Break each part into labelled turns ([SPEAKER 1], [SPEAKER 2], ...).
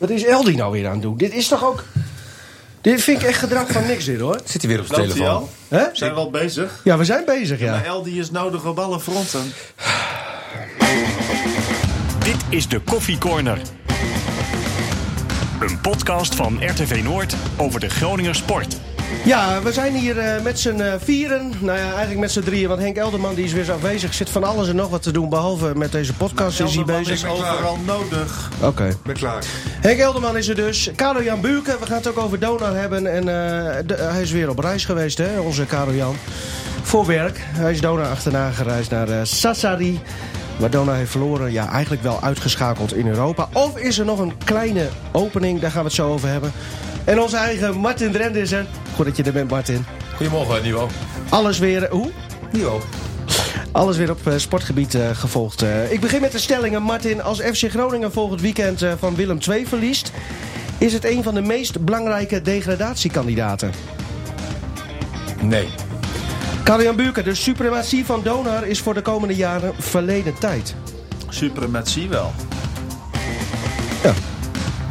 [SPEAKER 1] Wat is Eldi nou weer aan het doen? Dit is toch ook... Dit vind ik echt gedrag van niks dit hoor.
[SPEAKER 2] Zit hij weer op zijn
[SPEAKER 3] Loopt hij
[SPEAKER 2] telefoon?
[SPEAKER 3] al?
[SPEAKER 1] Hè?
[SPEAKER 3] Zijn we al bezig?
[SPEAKER 1] Ja, we zijn bezig ja.
[SPEAKER 3] Maar Eldi is nodig op alle fronten.
[SPEAKER 4] Dit is de Koffie Corner. Een podcast van RTV Noord over de Groninger sport.
[SPEAKER 1] Ja, we zijn hier eh, met z'n eh, vieren. Nou ja, eigenlijk met z'n drieën. Want Henk Elderman die is weer eens afwezig. Zit van alles en nog wat te doen. Behalve met deze podcast is hij
[SPEAKER 3] Elderman
[SPEAKER 1] bezig.
[SPEAKER 3] is overal nodig.
[SPEAKER 1] Oké.
[SPEAKER 2] Ik ben klaar.
[SPEAKER 1] Henk Elderman is er dus. Karel Jan Buurken, we gaan het ook over Donar hebben. En eh, de- hij is weer op reis geweest, hè, onze Karel Jan. Voor werk. Hij is Donar achterna gereisd naar eh, Sassari. Waar Donar heeft verloren, ja, eigenlijk wel uitgeschakeld in Europa. Of is er nog een kleine opening? Daar gaan we het zo over hebben. En onze eigen Martin Drent is er. Goed dat je er bent, Martin.
[SPEAKER 2] Goedemorgen, Nieuwo.
[SPEAKER 1] Alles weer, hoe?
[SPEAKER 2] Nieuwo.
[SPEAKER 1] Alles weer op eh, sportgebied eh, gevolgd. Eh, ik begin met de stellingen, Martin. Als FC Groningen volgend weekend eh, van Willem II verliest... is het een van de meest belangrijke degradatiekandidaten.
[SPEAKER 2] Nee.
[SPEAKER 1] Karel-Jan Buurken, de suprematie van Donar is voor de komende jaren verleden tijd.
[SPEAKER 3] Suprematie wel.
[SPEAKER 1] Ja.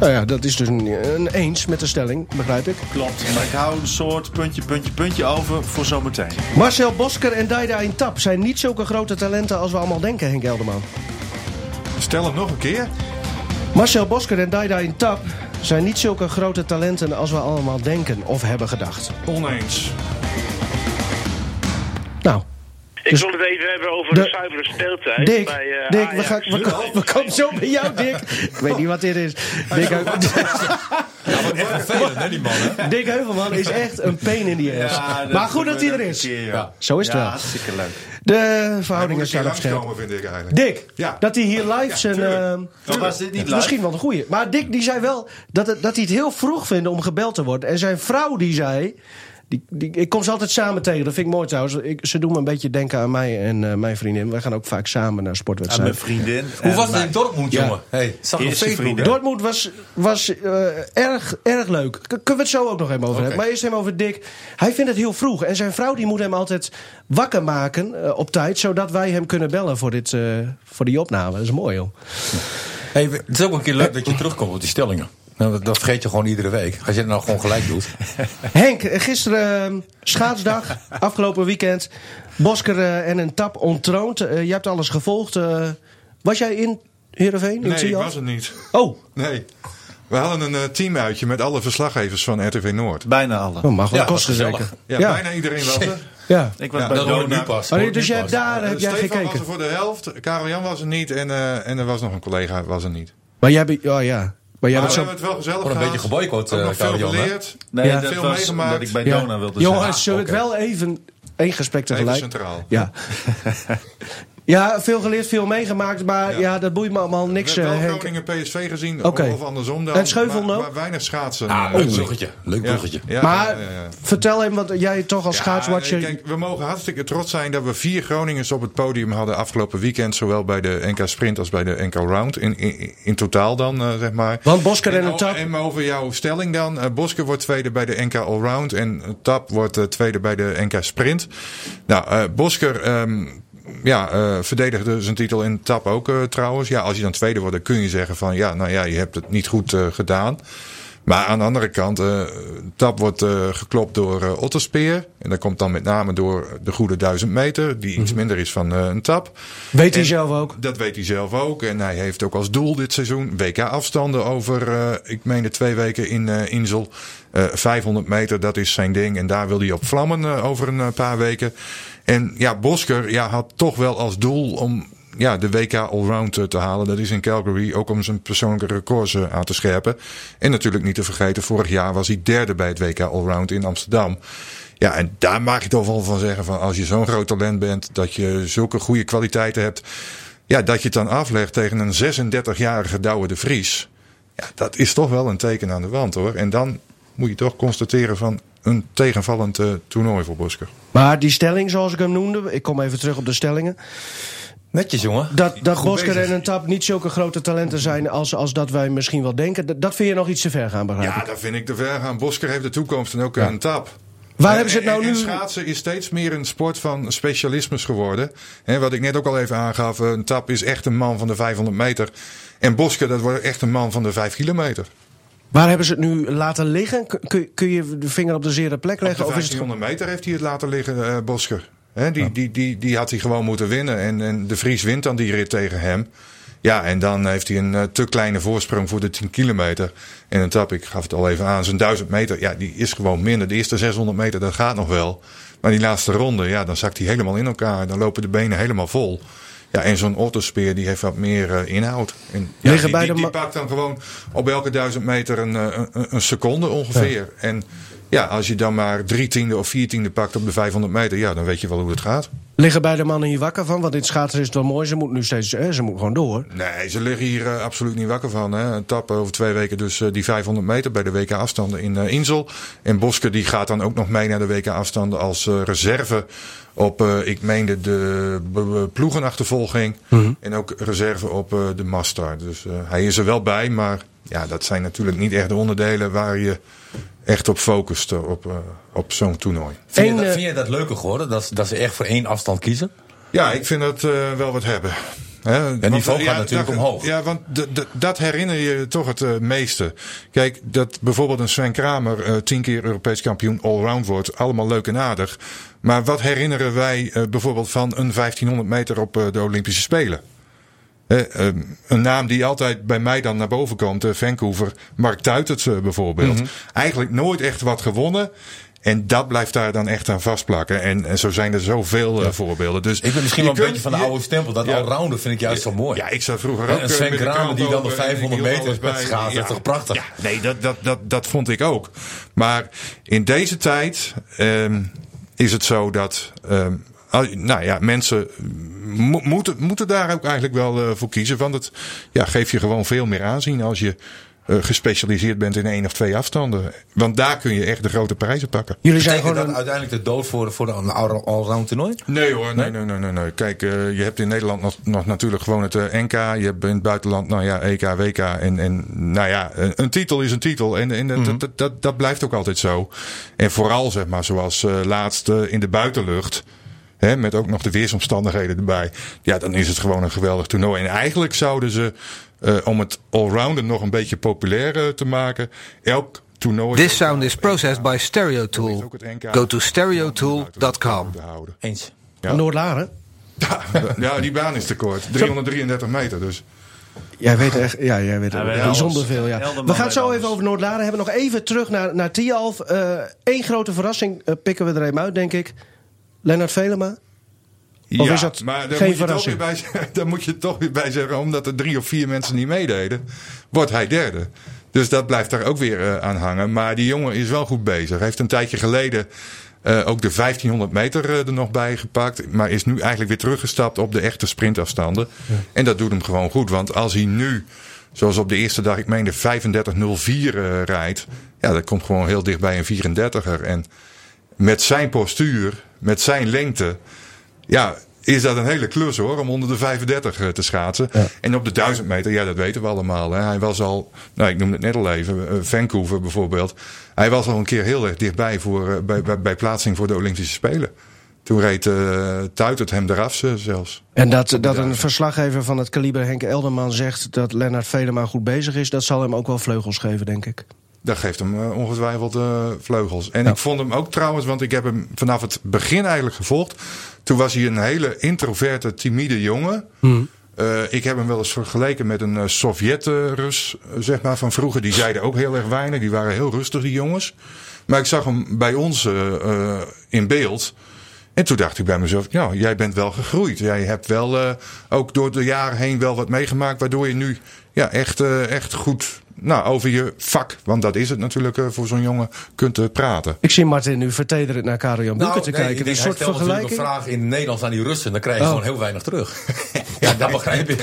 [SPEAKER 1] Nou ja, dat is dus een, een eens met de stelling, begrijp ik.
[SPEAKER 3] Klopt. Maar ik hou een soort puntje, puntje, puntje over voor zometeen.
[SPEAKER 1] Marcel Bosker en Daida Intap zijn niet zulke grote talenten als we allemaal denken, Henk Elderman.
[SPEAKER 2] Stel hem nog een keer.
[SPEAKER 1] Marcel Bosker en Daida Intap zijn niet zulke grote talenten als we allemaal denken of hebben gedacht.
[SPEAKER 2] Oneens.
[SPEAKER 1] Nou,
[SPEAKER 5] Ik
[SPEAKER 1] Dus-
[SPEAKER 5] wil het even hebben over
[SPEAKER 1] De-
[SPEAKER 5] de, zuivere speeltijd.
[SPEAKER 1] Dick,
[SPEAKER 5] bij, eh,
[SPEAKER 1] Dick we,
[SPEAKER 5] Ajax.
[SPEAKER 1] gaan, we, ko- we komen zo bij jou, Dick. Ik weet niet wat dit is. Dick, Heu-
[SPEAKER 2] Echt vervelend, hè, die man, hè?
[SPEAKER 1] Dick Heuvelman is echt een pain in die ass.
[SPEAKER 3] Ja, dat
[SPEAKER 1] maar goed
[SPEAKER 3] gebeurt
[SPEAKER 1] dat hij er
[SPEAKER 3] elke
[SPEAKER 1] is.
[SPEAKER 3] keer, joh.
[SPEAKER 2] Ja.
[SPEAKER 1] Zo is het
[SPEAKER 3] Ja,
[SPEAKER 1] wel.
[SPEAKER 3] hartstikke leuk.
[SPEAKER 1] De
[SPEAKER 6] Hij
[SPEAKER 1] verhoudingen
[SPEAKER 6] moet een
[SPEAKER 1] staan
[SPEAKER 6] keer
[SPEAKER 1] op scherp.
[SPEAKER 6] langskomen, vind ik eigenlijk.
[SPEAKER 1] Dick,
[SPEAKER 6] Ja.
[SPEAKER 1] dat hij hier live zijn...
[SPEAKER 6] tuurlijk.
[SPEAKER 1] eh,
[SPEAKER 3] Dan was dit niet leuk.
[SPEAKER 1] Misschien wel een goeie. Maar Dick die zei wel dat, het, dat hij het heel vroeg vindt om gebeld te worden. En zijn vrouw die zei... Die, die, ik kom ze altijd samen tegen. Dat vind ik mooi trouwens. Ik, ze doen me een beetje denken aan mij en eh, mijn vriendin. Wij gaan ook vaak samen naar
[SPEAKER 3] Aan mijn
[SPEAKER 1] sportwedstrijden.
[SPEAKER 3] vriendin. eh,
[SPEAKER 2] Hoe was het in Dortmund,
[SPEAKER 1] Ja.
[SPEAKER 2] jongen? Hey, zag nog
[SPEAKER 3] Eerste
[SPEAKER 2] Facebook.
[SPEAKER 3] vrienden.
[SPEAKER 1] Dortmund was, was eh, erg, erg leuk. K- kunnen we het zo ook nog even over hebben.
[SPEAKER 2] Oké.
[SPEAKER 1] Maar eerst even over Dick. Hij vindt het heel vroeg. En zijn vrouw die moet hem altijd wakker maken eh, op tijd. Zodat wij hem kunnen bellen voor, dit, eh, voor die opname. Dat is mooi joh.
[SPEAKER 2] Hey, we- het is ook een keer leuk dat je terugkomt op die stellingen. Nou, dat, dat vergeet je gewoon iedere week. Als je het nou gewoon gelijk doet.
[SPEAKER 1] Henk, eh, gisteren eh, schaatsdag. afgelopen weekend. Bosker eh, en een tap ontroond. Eh, je hebt alles gevolgd. eh. was jij in Heerenveen? In
[SPEAKER 6] Nee, ik
[SPEAKER 1] Tialf?
[SPEAKER 6] was het niet.
[SPEAKER 1] Oh,
[SPEAKER 6] Nee. We hadden een eh, teamuitje met alle verslaggevers van RTV Noord.
[SPEAKER 3] Bijna alle.
[SPEAKER 1] dat oh, mag wel
[SPEAKER 2] Ja,
[SPEAKER 1] kosten
[SPEAKER 2] was gezellig.
[SPEAKER 1] zeker.
[SPEAKER 6] Ja,
[SPEAKER 1] Ja.
[SPEAKER 6] bijna iedereen was er.
[SPEAKER 1] Ja.
[SPEAKER 3] Ik was
[SPEAKER 6] Ja,
[SPEAKER 3] bij
[SPEAKER 2] Dat hoor ik
[SPEAKER 3] Dona.
[SPEAKER 2] nu pas.
[SPEAKER 1] Oh,
[SPEAKER 2] Hoor
[SPEAKER 1] nee,
[SPEAKER 2] ik
[SPEAKER 1] dus
[SPEAKER 2] nu
[SPEAKER 1] jij hebt
[SPEAKER 2] pas.
[SPEAKER 1] daar heb jij
[SPEAKER 6] Stefan was
[SPEAKER 1] gekeken.
[SPEAKER 6] er voor de helft, Karel Jan was er niet en, eh, en er was nog een collega was er niet. Maar
[SPEAKER 1] Maar jij bent. Oh ja. Maar jij
[SPEAKER 6] we
[SPEAKER 1] bent zo.
[SPEAKER 6] hebben het wel gezellig
[SPEAKER 2] Gewoon een
[SPEAKER 6] gehad.
[SPEAKER 2] beetje geboycott,
[SPEAKER 6] Ook
[SPEAKER 2] eh,
[SPEAKER 6] nog
[SPEAKER 2] Karel
[SPEAKER 6] veel
[SPEAKER 2] Jan, hè?
[SPEAKER 6] geleerd.
[SPEAKER 3] Nee,
[SPEAKER 1] Ja.
[SPEAKER 3] dat
[SPEAKER 6] Veel
[SPEAKER 3] was
[SPEAKER 6] meegemaakt.
[SPEAKER 3] omdat ik bij
[SPEAKER 1] Ja.
[SPEAKER 3] Dona wilde
[SPEAKER 1] Jongens,
[SPEAKER 3] zijn.
[SPEAKER 1] zullen we het wel even één gesprek
[SPEAKER 6] Ah, Even
[SPEAKER 1] tegelijk?
[SPEAKER 6] centraal.
[SPEAKER 1] Ja. ja, veel geleerd, veel meegemaakt, maar ja,
[SPEAKER 6] Ja.
[SPEAKER 1] dat boeit me allemaal
[SPEAKER 6] We
[SPEAKER 1] niks, eh,
[SPEAKER 6] hebben wel
[SPEAKER 1] Henk.
[SPEAKER 6] Groningen PSV gezien,
[SPEAKER 1] Oké.
[SPEAKER 6] of- of andersom dan.
[SPEAKER 1] En Scheuvel
[SPEAKER 6] maar,
[SPEAKER 1] ook?
[SPEAKER 6] maar weinig schaatsen.
[SPEAKER 2] Ah,
[SPEAKER 6] Ja,
[SPEAKER 2] leuk bruggetje. Leuk bruggetje.
[SPEAKER 6] ja,
[SPEAKER 1] maar
[SPEAKER 6] ja, ja, ja.
[SPEAKER 1] vertel hem, want jij toch als
[SPEAKER 6] Ja,
[SPEAKER 1] schaatswatcher...
[SPEAKER 6] nee, kijk, we mogen hartstikke trots zijn dat we vier Groningers op het podium hadden afgelopen weekend. Zowel bij de NK Sprint als bij de NK Round. In, in, in totaal dan, eh, zeg maar.
[SPEAKER 1] want Bosker en
[SPEAKER 6] En
[SPEAKER 1] een
[SPEAKER 6] o-
[SPEAKER 1] tap...
[SPEAKER 6] en maar over jouw stelling dan. eh, Bosker wordt tweede bij de NK Allround. En eh, Tap wordt eh, tweede bij de NK Sprint. Nou, eh, Bosker ehm, ja, eh, verdedigde zijn titel in Tap ook eh, trouwens. Ja, als je dan tweede wordt, dan kun je zeggen van... Ja, nou ja, je hebt het niet goed eh, gedaan. Maar aan de andere kant, eh, Tap wordt eh, geklopt door eh, Otterspeer. En dat komt dan met name door de goede duizend meter. Die iets minder is van eh, een Tap.
[SPEAKER 1] Weet hij Mhm.
[SPEAKER 6] en-
[SPEAKER 1] zelf ook.
[SPEAKER 6] Dat weet hij zelf ook. En hij heeft ook als doel dit seizoen WK-afstanden over, eh, ik meen de twee weken in eh Insel. Eh, 500 meter, dat is zijn ding. En daar wil hij op vlammen eh, over een eh, paar weken. En ja, Bosker ja, had toch wel als doel om ja, de WK Allround eh, te halen. Dat is in Calgary ook om zijn persoonlijke records eh, aan te scherpen. En natuurlijk niet te vergeten, vorig jaar was hij derde bij het WK Allround in Amsterdam. Ja, en daar mag je toch wel van zeggen van als je zo'n groot talent bent, dat je zulke goede kwaliteiten hebt. Ja, dat je het dan aflegt tegen een 36-jarige Douwe de Vries. Ja, dat is toch wel een teken aan de wand hoor. En dan moet je toch constateren van een tegenvallend eh, toernooi voor Bosker.
[SPEAKER 1] Maar die stelling, zoals ik hem noemde, ik kom even terug op de stellingen...
[SPEAKER 2] Netjes, jongen.
[SPEAKER 1] dat, dat Bosker
[SPEAKER 6] bezig.
[SPEAKER 1] en een tap niet zulke grote talenten zijn als, als dat wij misschien wel denken... dat- dat vind je nog iets te ver gaan, begrijp ik.
[SPEAKER 6] Ja, daar vind ik te ver gaan. Bosker heeft de toekomst en ook een tap.
[SPEAKER 1] Waar
[SPEAKER 6] Eh,
[SPEAKER 1] hebben ze het nou
[SPEAKER 6] en- en
[SPEAKER 1] nu?
[SPEAKER 6] Schaatsen is steeds meer een sport van specialismes geworden. Hè, wat ik net ook al even aangaf. eh, Een tap is echt een man van de 500 meter. En Bosker, dat wordt echt een man van de 5 kilometer.
[SPEAKER 1] Waar hebben ze het nu laten liggen? Kun- Kun, kun je de vinger op de zere plek
[SPEAKER 6] Op de
[SPEAKER 1] leggen? Of is het gewoon-
[SPEAKER 6] 1500 meter heeft hij het laten liggen, eh, Bosker. Hè, die, die, die, die had hij gewoon moeten winnen. En, en de Vries wint dan die rit tegen hem. Ja, en dan heeft hij een eh, te kleine voorsprong voor de 10 kilometer. En een tap, ik gaf het al even aan, zijn 1000 meter, ja, die is gewoon minder. De eerste 600 meter, dat gaat nog wel. Maar die laatste ronde, ja, dan zakt hij helemaal in elkaar. Dan lopen de benen helemaal vol. Ja, en zo'n ottospeer, die heeft wat meer eh, inhoud. En, ja,
[SPEAKER 1] Liggen
[SPEAKER 6] die,
[SPEAKER 1] bij
[SPEAKER 6] die-
[SPEAKER 1] de
[SPEAKER 6] die
[SPEAKER 1] ma-
[SPEAKER 6] pakt dan gewoon op elke duizend meter een, eh, een, een seconde ongeveer. En ja, als je dan maar drie tiende of vier tiende pakt op de 500 meter, ja, dan weet je wel hoe het gaat.
[SPEAKER 1] Liggen bij de mannen hier wakker van? Want in het schaatsen is het wel mooi. Ze moet nu steeds, eh, ze moet gewoon door.
[SPEAKER 6] Nee, ze liggen hier eh, absoluut niet wakker van. Hè. Een tap over twee weken dus eh, die 500 meter bij de WK afstanden in eh, Insel. En Boske die gaat dan ook nog mee naar de WK afstanden als eh, reserve op, eh, ik meende, de eh, b- b- ploegenachtervolging. En ook reserve op eh, de Master. Dus eh, hij is er wel bij, maar ja, dat zijn natuurlijk niet echt de onderdelen waar je echt op focust eh, op, eh, op zo'n toernooi.
[SPEAKER 2] Vind,
[SPEAKER 1] Eén,
[SPEAKER 2] je, dat,
[SPEAKER 1] eh,
[SPEAKER 2] vind je dat leuker geworden? Dat, ze- dat ze echt voor één afstand kiezen?
[SPEAKER 6] Ja, ik vind dat eh, wel wat hebben. Hè, want,
[SPEAKER 2] niveau
[SPEAKER 6] eh,
[SPEAKER 2] gaat natuurlijk
[SPEAKER 6] dat-
[SPEAKER 2] omhoog.
[SPEAKER 6] Ja, want d- d- dat herinner je toch het eh, meeste. Kijk, dat bijvoorbeeld een Sven Kramer eh, tien keer Europees kampioen allround wordt. Allemaal leuk en aardig. Maar wat herinneren wij eh, bijvoorbeeld van een 1500 meter op eh, de Olympische Spelen? Eh, ehm, een naam die altijd bij mij dan naar boven komt, eh, Vancouver, Mark Tuitert eh, bijvoorbeeld.
[SPEAKER 2] Mhm.
[SPEAKER 6] Eigenlijk nooit echt wat gewonnen. En dat blijft daar dan echt aan vastplakken. En, en zo zijn er zoveel eh, voorbeelden. Dus
[SPEAKER 2] Ik ben misschien
[SPEAKER 6] je
[SPEAKER 2] wel een
[SPEAKER 6] kunt-
[SPEAKER 2] beetje van de
[SPEAKER 6] je-
[SPEAKER 2] oude stempel. Dat
[SPEAKER 6] Ja.
[SPEAKER 2] allrounder vind ik juist zo mooi.
[SPEAKER 6] Ja, ik zat vroeger
[SPEAKER 2] En
[SPEAKER 6] ook.
[SPEAKER 2] een
[SPEAKER 6] eh,
[SPEAKER 2] Sven
[SPEAKER 6] met de eh,
[SPEAKER 2] Kramer
[SPEAKER 6] krant
[SPEAKER 2] die dan
[SPEAKER 6] open
[SPEAKER 2] de
[SPEAKER 6] en ik
[SPEAKER 2] 500
[SPEAKER 6] hield
[SPEAKER 2] meter
[SPEAKER 6] alles
[SPEAKER 2] met
[SPEAKER 6] bij.
[SPEAKER 2] schaatsen. Dat is toch prachtig?
[SPEAKER 6] Ja, nee, dat, dat, dat, dat vond ik ook. Maar in deze tijd ehm, is het zo dat. ehm, al- nou ja, mensen mo- moeten, moeten daar ook eigenlijk wel eh, voor kiezen. Want het ja, geeft je gewoon veel meer aanzien als je eh, gespecialiseerd bent in één of twee afstanden. Want daar kun je echt de grote prijzen pakken.
[SPEAKER 1] Jullie zijn
[SPEAKER 2] Betekent
[SPEAKER 1] gewoon
[SPEAKER 2] dat
[SPEAKER 1] een,
[SPEAKER 2] uiteindelijk de dood voor, voor een all- allround toernooi?
[SPEAKER 6] Nee hoor, nee, nee, nee, nee. nee. Kijk, eh, je hebt in Nederland nog, nog natuurlijk gewoon het eh, NK. Je hebt in het buitenland, nou ja, EK, WK. En, en nou ja, een, een titel is een titel. En, en dat-
[SPEAKER 5] Mhm.
[SPEAKER 6] dat, dat, dat blijft ook altijd zo. En vooral, zeg maar, zoals eh, laatst eh, in de buitenlucht. Hè, met ook nog de weersomstandigheden erbij. Ja, dan is het gewoon een geweldig toernooi. En eigenlijk zouden ze, eh, om het allrounder nog een beetje populair eh, te maken, elk toernooi.
[SPEAKER 5] This sound is processed by
[SPEAKER 6] Heeft
[SPEAKER 5] Stereotool.
[SPEAKER 6] ook het NK.
[SPEAKER 5] Go to stereotool.com.
[SPEAKER 6] te houden.
[SPEAKER 2] Eens.
[SPEAKER 6] Ja.
[SPEAKER 1] Noordlaren?
[SPEAKER 6] Ja, die baan is te kort. 333 meter dus.
[SPEAKER 1] Jij weet echt, ja, jij weet
[SPEAKER 3] Hij
[SPEAKER 1] ook
[SPEAKER 3] weet alles.
[SPEAKER 1] bijzonder veel. Ja.
[SPEAKER 3] Helder man
[SPEAKER 1] We gaan het
[SPEAKER 3] weet
[SPEAKER 1] zo
[SPEAKER 3] alles.
[SPEAKER 1] even over Noord-Laren hebben. Nog even terug naar, naar Tialf. Eén grote verrassing eh, pikken we er even uit, denk ik. Lennart Velema. Of is dat
[SPEAKER 6] maar
[SPEAKER 1] geen
[SPEAKER 6] daar moet, je toch
[SPEAKER 1] verrassing?
[SPEAKER 6] weer bij, zeggen- daar moet je toch weer bij zeggen, omdat er drie of vier mensen niet meededen, wordt hij derde. Dus dat blijft daar ook weer eh, aan hangen. Maar die jongen is wel goed bezig. Hij heeft een tijdje geleden eh, ook de 1500 meter eh, er nog bij gepakt. Maar is nu eigenlijk weer teruggestapt op de echte sprintafstanden. En dat doet hem gewoon goed. Want als hij nu, zoals op de eerste dag, ik meen de 35.04 eh rijdt. Ja, dat komt gewoon heel dicht bij een 34er. En met zijn postuur, met zijn lengte. Ja, is dat een hele klus hoor, om onder de 35 eh, te schaatsen. En op de 1000 meter, ja, dat weten we allemaal. Hè. Hij was al, nou, ik noemde het net al even, eh, Vancouver bijvoorbeeld. Hij was al een keer heel erg dichtbij voor, eh, bij, bij, bij plaatsing voor de Olympische Spelen. Toen reed eh Tuitert hem eraf eh, zelfs.
[SPEAKER 1] En dat, dat een verslaggever van het kaliber Henk Elderman zegt dat Lennart Velema goed bezig is, dat zal hem ook wel vleugels geven, denk ik.
[SPEAKER 6] Dat geeft hem eh, ongetwijfeld eh, vleugels. En ik vond hem ook trouwens, want ik heb hem vanaf het begin eigenlijk gevolgd. Toen was hij een hele introverte, timide jongen. Eh, ik heb hem wel eens vergeleken met een eh, Sovjet-Rus, eh, zeg maar, van vroeger. Die zeiden ook heel erg weinig. Die waren heel rustig, die jongens. Maar ik zag hem bij ons eh, eh, in beeld. En toen dacht ik bij mezelf, nou, jij bent wel gegroeid. Jij hebt wel eh, ook door de jaren heen wel wat meegemaakt. Waardoor je nu ja, echt, eh, echt goed nou, over je vak, want dat is het natuurlijk eh, voor zo'n jongen, kunt eh, praten.
[SPEAKER 1] Ik zie Martin nu vertederend naar Karel Jan Boeken te
[SPEAKER 2] Nou, nee,
[SPEAKER 1] kijken.
[SPEAKER 2] ik
[SPEAKER 1] Een
[SPEAKER 2] denk, hij
[SPEAKER 1] soort
[SPEAKER 2] stelt natuurlijk
[SPEAKER 1] vergelijking.
[SPEAKER 2] een vraag in het Nederlands aan die Russen. Dan krijg je
[SPEAKER 1] Oh.
[SPEAKER 2] gewoon heel weinig terug. ja, dat begrijp ik.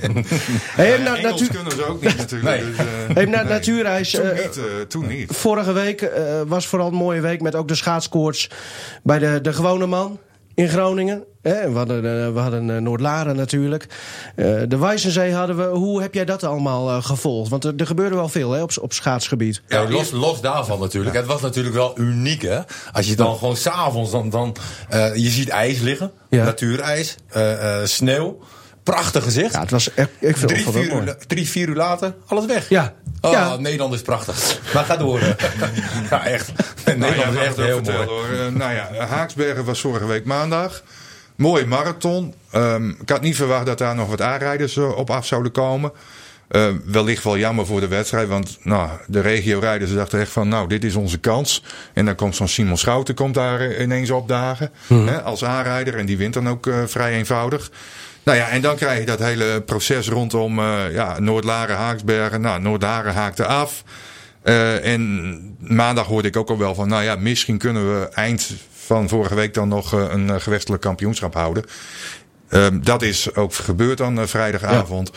[SPEAKER 1] Hey, en na-
[SPEAKER 6] Engels
[SPEAKER 1] natuur-
[SPEAKER 6] kunnen ze ook niet natuurlijk.
[SPEAKER 2] Nee.
[SPEAKER 6] dus, eh,
[SPEAKER 1] hey, na-
[SPEAKER 6] nee.
[SPEAKER 1] Natuurreis.
[SPEAKER 6] Toen
[SPEAKER 1] eh,
[SPEAKER 6] niet, eh, toen niet.
[SPEAKER 1] Vorige week eh, was vooral een mooie week met ook de schaatskoorts bij de, de gewone man. in Groningen. Hè? We hadden, eh, we hadden eh, Noordlaren natuurlijk. Eh, de Wijzenzee hadden we. Hoe heb jij dat allemaal eh, gevolgd? Want er, er gebeurde wel veel hè, op, s- op schaatsgebied.
[SPEAKER 2] Ja, los, los daarvan natuurlijk. Het was natuurlijk wel uniek, hè. Als je dan gewoon s'avonds, dan, dan, eh, je ziet ijs liggen.
[SPEAKER 1] Ja.
[SPEAKER 2] Natuurijs. eh, eh, sneeuw. Prachtig gezicht.
[SPEAKER 1] Ja, het was echt, ik vind het
[SPEAKER 2] drie,
[SPEAKER 1] wel
[SPEAKER 2] vier
[SPEAKER 1] mooi.
[SPEAKER 2] uur, drie, vier uur later, alles weg.
[SPEAKER 1] Ja.
[SPEAKER 2] Oh,
[SPEAKER 1] Ja.
[SPEAKER 2] Nederland is prachtig. Maar ga door. hè. ja, echt.
[SPEAKER 6] Nou ja,
[SPEAKER 2] Nederland
[SPEAKER 6] we
[SPEAKER 2] is
[SPEAKER 6] gaan
[SPEAKER 2] echt
[SPEAKER 6] het
[SPEAKER 2] heel
[SPEAKER 6] ook
[SPEAKER 2] mooi.
[SPEAKER 6] vertellen, hoor. Eh, nou ja, Haaksbergen was vorige week maandag. Mooie marathon. Ehm, ik had niet verwacht dat daar nog wat aanrijders eh, op af zouden komen. Eh, wellicht wel jammer voor de wedstrijd. Want nou, de regiorijders dachten echt van... nou, dit is onze kans. En dan komt zo'n Simon Schouten komt daar eh, ineens opdagen. Hè, als aanrijder. En die wint dan ook eh, vrij eenvoudig. Nou ja, en dan krijg je dat hele proces rondom eh ja, Noordlaren, Haaksbergen. Nou, Noordlaren haakte af. Eh, en maandag hoorde ik ook al wel van, nou ja, misschien kunnen we eind van vorige week dan nog eh, een eh, gewechtelijk kampioenschap houden. Ehm, dat is ook gebeurd dan eh, vrijdagavond.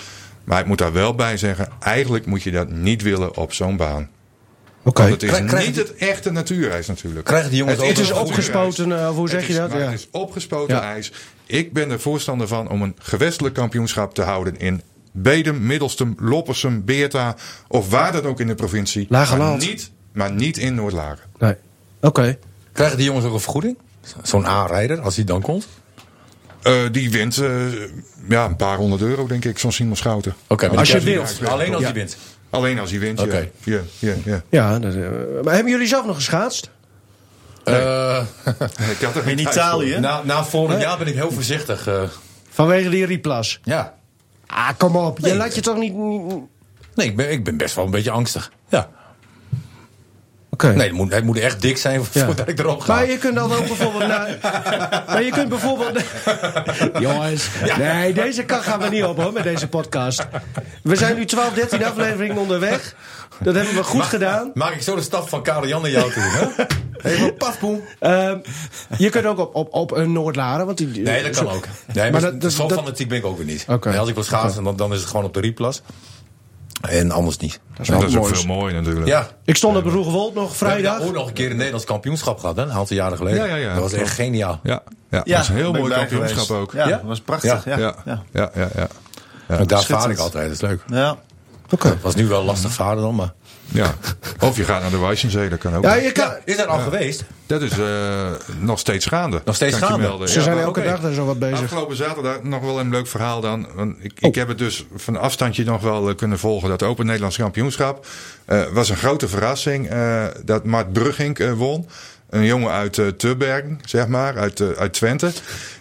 [SPEAKER 6] Maar ik moet daar wel bij zeggen, eigenlijk moet je dat niet willen op zo'n baan.
[SPEAKER 2] eh,
[SPEAKER 1] Oké.
[SPEAKER 6] Want het is
[SPEAKER 2] Krijg- krijg-
[SPEAKER 6] niet het echte natuurijs natuurlijk.
[SPEAKER 2] Krijgen die jongens ook
[SPEAKER 1] Het is
[SPEAKER 2] nog een goede
[SPEAKER 1] opgespoten, eh, of hoe zeg
[SPEAKER 6] Het
[SPEAKER 1] je
[SPEAKER 6] is-
[SPEAKER 1] dat?
[SPEAKER 6] maar
[SPEAKER 1] Ja.
[SPEAKER 6] Het is opgespoten
[SPEAKER 1] Ja.
[SPEAKER 6] ijs. Ik ben er voorstander van om een gewestelijk kampioenschap te houden in Bedum, Middelstum, Loppersum, Beerta of waar dat ook in de provincie.
[SPEAKER 1] Lage
[SPEAKER 6] maar
[SPEAKER 1] land.
[SPEAKER 6] niet, maar niet in Noordlagen.
[SPEAKER 1] Nee. Oké.
[SPEAKER 2] Krijgen die jongens ook een vergoeding? Zo'n aanrijder, als die dan komt?
[SPEAKER 6] Eh, die wint eh, ja, een paar honderd euro, denk ik, zo'n Simon Schouten.
[SPEAKER 2] Oké, maar
[SPEAKER 1] Als
[SPEAKER 2] die
[SPEAKER 1] je
[SPEAKER 2] krijgt-
[SPEAKER 6] wilt.
[SPEAKER 2] Alleen als
[SPEAKER 1] Ja.
[SPEAKER 2] die wint.
[SPEAKER 6] Alleen als hij wint,
[SPEAKER 2] Oké.
[SPEAKER 6] ja. Ja, ja, ja.
[SPEAKER 1] Ja, dat, eh, maar hebben jullie zelf nog geschaatst?
[SPEAKER 2] Eh,
[SPEAKER 6] Ik had er geen
[SPEAKER 3] In
[SPEAKER 6] tijd
[SPEAKER 3] Italië.
[SPEAKER 2] na, na vorig jaar ben ik heel voorzichtig. eh,
[SPEAKER 1] Vanwege die Riplas.
[SPEAKER 2] ja.
[SPEAKER 1] Ah, kom op. Je
[SPEAKER 2] Nee.
[SPEAKER 1] laat je toch niet... Oké.
[SPEAKER 2] Nee, ik ben, ik ben best wel een beetje angstig. Ja. Nee, het moet, het moet echt dik zijn
[SPEAKER 1] Ja.
[SPEAKER 2] voordat ik erop ga.
[SPEAKER 1] Maar je kunt dan ook bijvoorbeeld naar... maar je kunt bijvoorbeeld... Jongens, nee, deze kan gaan we niet op hoor, met deze podcast. We zijn nu 12, 13 afleveringen onderweg. Dat hebben we goed gedaan.
[SPEAKER 2] Maak ik zo de stap van Karel Jan naar jou toe, hè? Even paspoen.
[SPEAKER 1] Ehm, je kunt ook op, op, op een Noordlaren, want die...
[SPEAKER 2] Nee, dat kan ook. Nee, maar
[SPEAKER 1] Maar dat- dat-
[SPEAKER 2] zo
[SPEAKER 1] dat-
[SPEAKER 2] fanatiek ben ik ook weer niet.
[SPEAKER 1] Oké.
[SPEAKER 2] Nee, als ik wil schaatsen, dan, dan is het gewoon op de Rieplas. En anders niet.
[SPEAKER 6] voor. Dat is ook
[SPEAKER 1] Moois.
[SPEAKER 6] veel mooi natuurlijk.
[SPEAKER 2] Ja.
[SPEAKER 1] Ik stond op Roegewold nog
[SPEAKER 2] We hebben
[SPEAKER 1] vrijdag.
[SPEAKER 2] daar ook nog een keer een Nederlands kampioenschap gehad, hè? Een aantal jaren geleden.
[SPEAKER 6] Ja, ja, ja.
[SPEAKER 2] Dat was echt geniaal.
[SPEAKER 6] Ja, ja.
[SPEAKER 3] Ja,
[SPEAKER 6] dat is een heel
[SPEAKER 3] ben ik
[SPEAKER 6] mooi
[SPEAKER 3] bij
[SPEAKER 6] kampioenschap
[SPEAKER 3] geweest.
[SPEAKER 6] ook.
[SPEAKER 3] Ja,
[SPEAKER 2] Ja?
[SPEAKER 3] dat was prachtig. Ja, ja. ja.
[SPEAKER 6] ja, ja, ja.
[SPEAKER 2] En Daar vaar ik altijd, dat is leuk.
[SPEAKER 1] Oké.
[SPEAKER 2] Was nu wel lastig varen dan, maar...
[SPEAKER 6] Ja. Of je gaat naar de Wijzenzee, dat kan ook.
[SPEAKER 1] Ja, je kan...
[SPEAKER 2] Ja, Nou, is dat al geweest?
[SPEAKER 6] Dat is eh, nog steeds gaande.
[SPEAKER 2] Nog steeds
[SPEAKER 6] kan ik je
[SPEAKER 2] gaande.
[SPEAKER 6] melden.
[SPEAKER 1] Ze
[SPEAKER 6] Ja.
[SPEAKER 1] zijn
[SPEAKER 2] maar
[SPEAKER 1] elke
[SPEAKER 2] oké.
[SPEAKER 1] dag daar zo wat bezig. Oh.
[SPEAKER 6] Afgelopen zaterdag nog wel een leuk verhaal dan. Want ik, ik heb het dus van afstandje nog wel eh, kunnen volgen. Dat Open Nederlands Kampioenschap. Eh was een grote verrassing eh, dat Mart Brugging eh, won. Een jongen uit eh Tubbergen, zeg maar, uit, eh, uit Twente.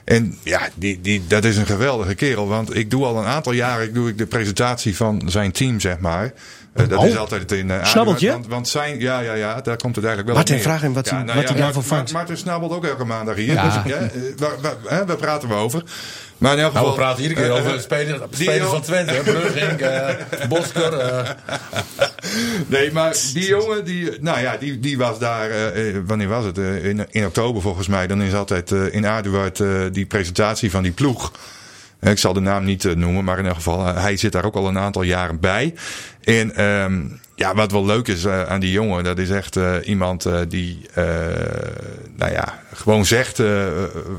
[SPEAKER 6] En ja, die, die, dat is een geweldige kerel. Want ik doe al een aantal jaren doe ik de presentatie van zijn team, zeg maar. Eh, dat
[SPEAKER 1] Oh.
[SPEAKER 6] is altijd in eh,
[SPEAKER 1] Snabbeltje?
[SPEAKER 6] Want, want zijn, ja, ja, ja, daar komt het eigenlijk wel
[SPEAKER 1] Martin,
[SPEAKER 6] op neer.
[SPEAKER 1] vraag hem wat hij- wat hij
[SPEAKER 6] Mar-
[SPEAKER 1] daarvan
[SPEAKER 6] Mar-
[SPEAKER 1] vangt.
[SPEAKER 6] nou Maarten snabbelt ook elke maandag hier.
[SPEAKER 1] Ja.
[SPEAKER 6] Dus, ja, eh, waar, waar, hè, waar praten we over? Maar in elk
[SPEAKER 2] Nou,
[SPEAKER 6] geval,
[SPEAKER 2] we praten iedere keer
[SPEAKER 6] eh,
[SPEAKER 2] over
[SPEAKER 6] eh,
[SPEAKER 2] spelers,
[SPEAKER 6] die
[SPEAKER 2] spelers
[SPEAKER 6] jongen-
[SPEAKER 2] van Twente. hè. Brugink, eh Bosker. eh,
[SPEAKER 6] Nee, maar die jongen, die, nou ja, die, die was daar, eh, eh, wanneer was het? Eh, in, in oktober volgens mij. Dan is altijd eh, in Aduard eh, die presentatie van die ploeg. Eh, Ik zal de naam niet eh, noemen, maar in elk geval, eh, hij zit daar ook al een aantal jaren bij. En ehm, ja, wat wel leuk is eh, aan die jongen, dat is echt eh, iemand eh, die, eh, nou ja, gewoon zegt eh,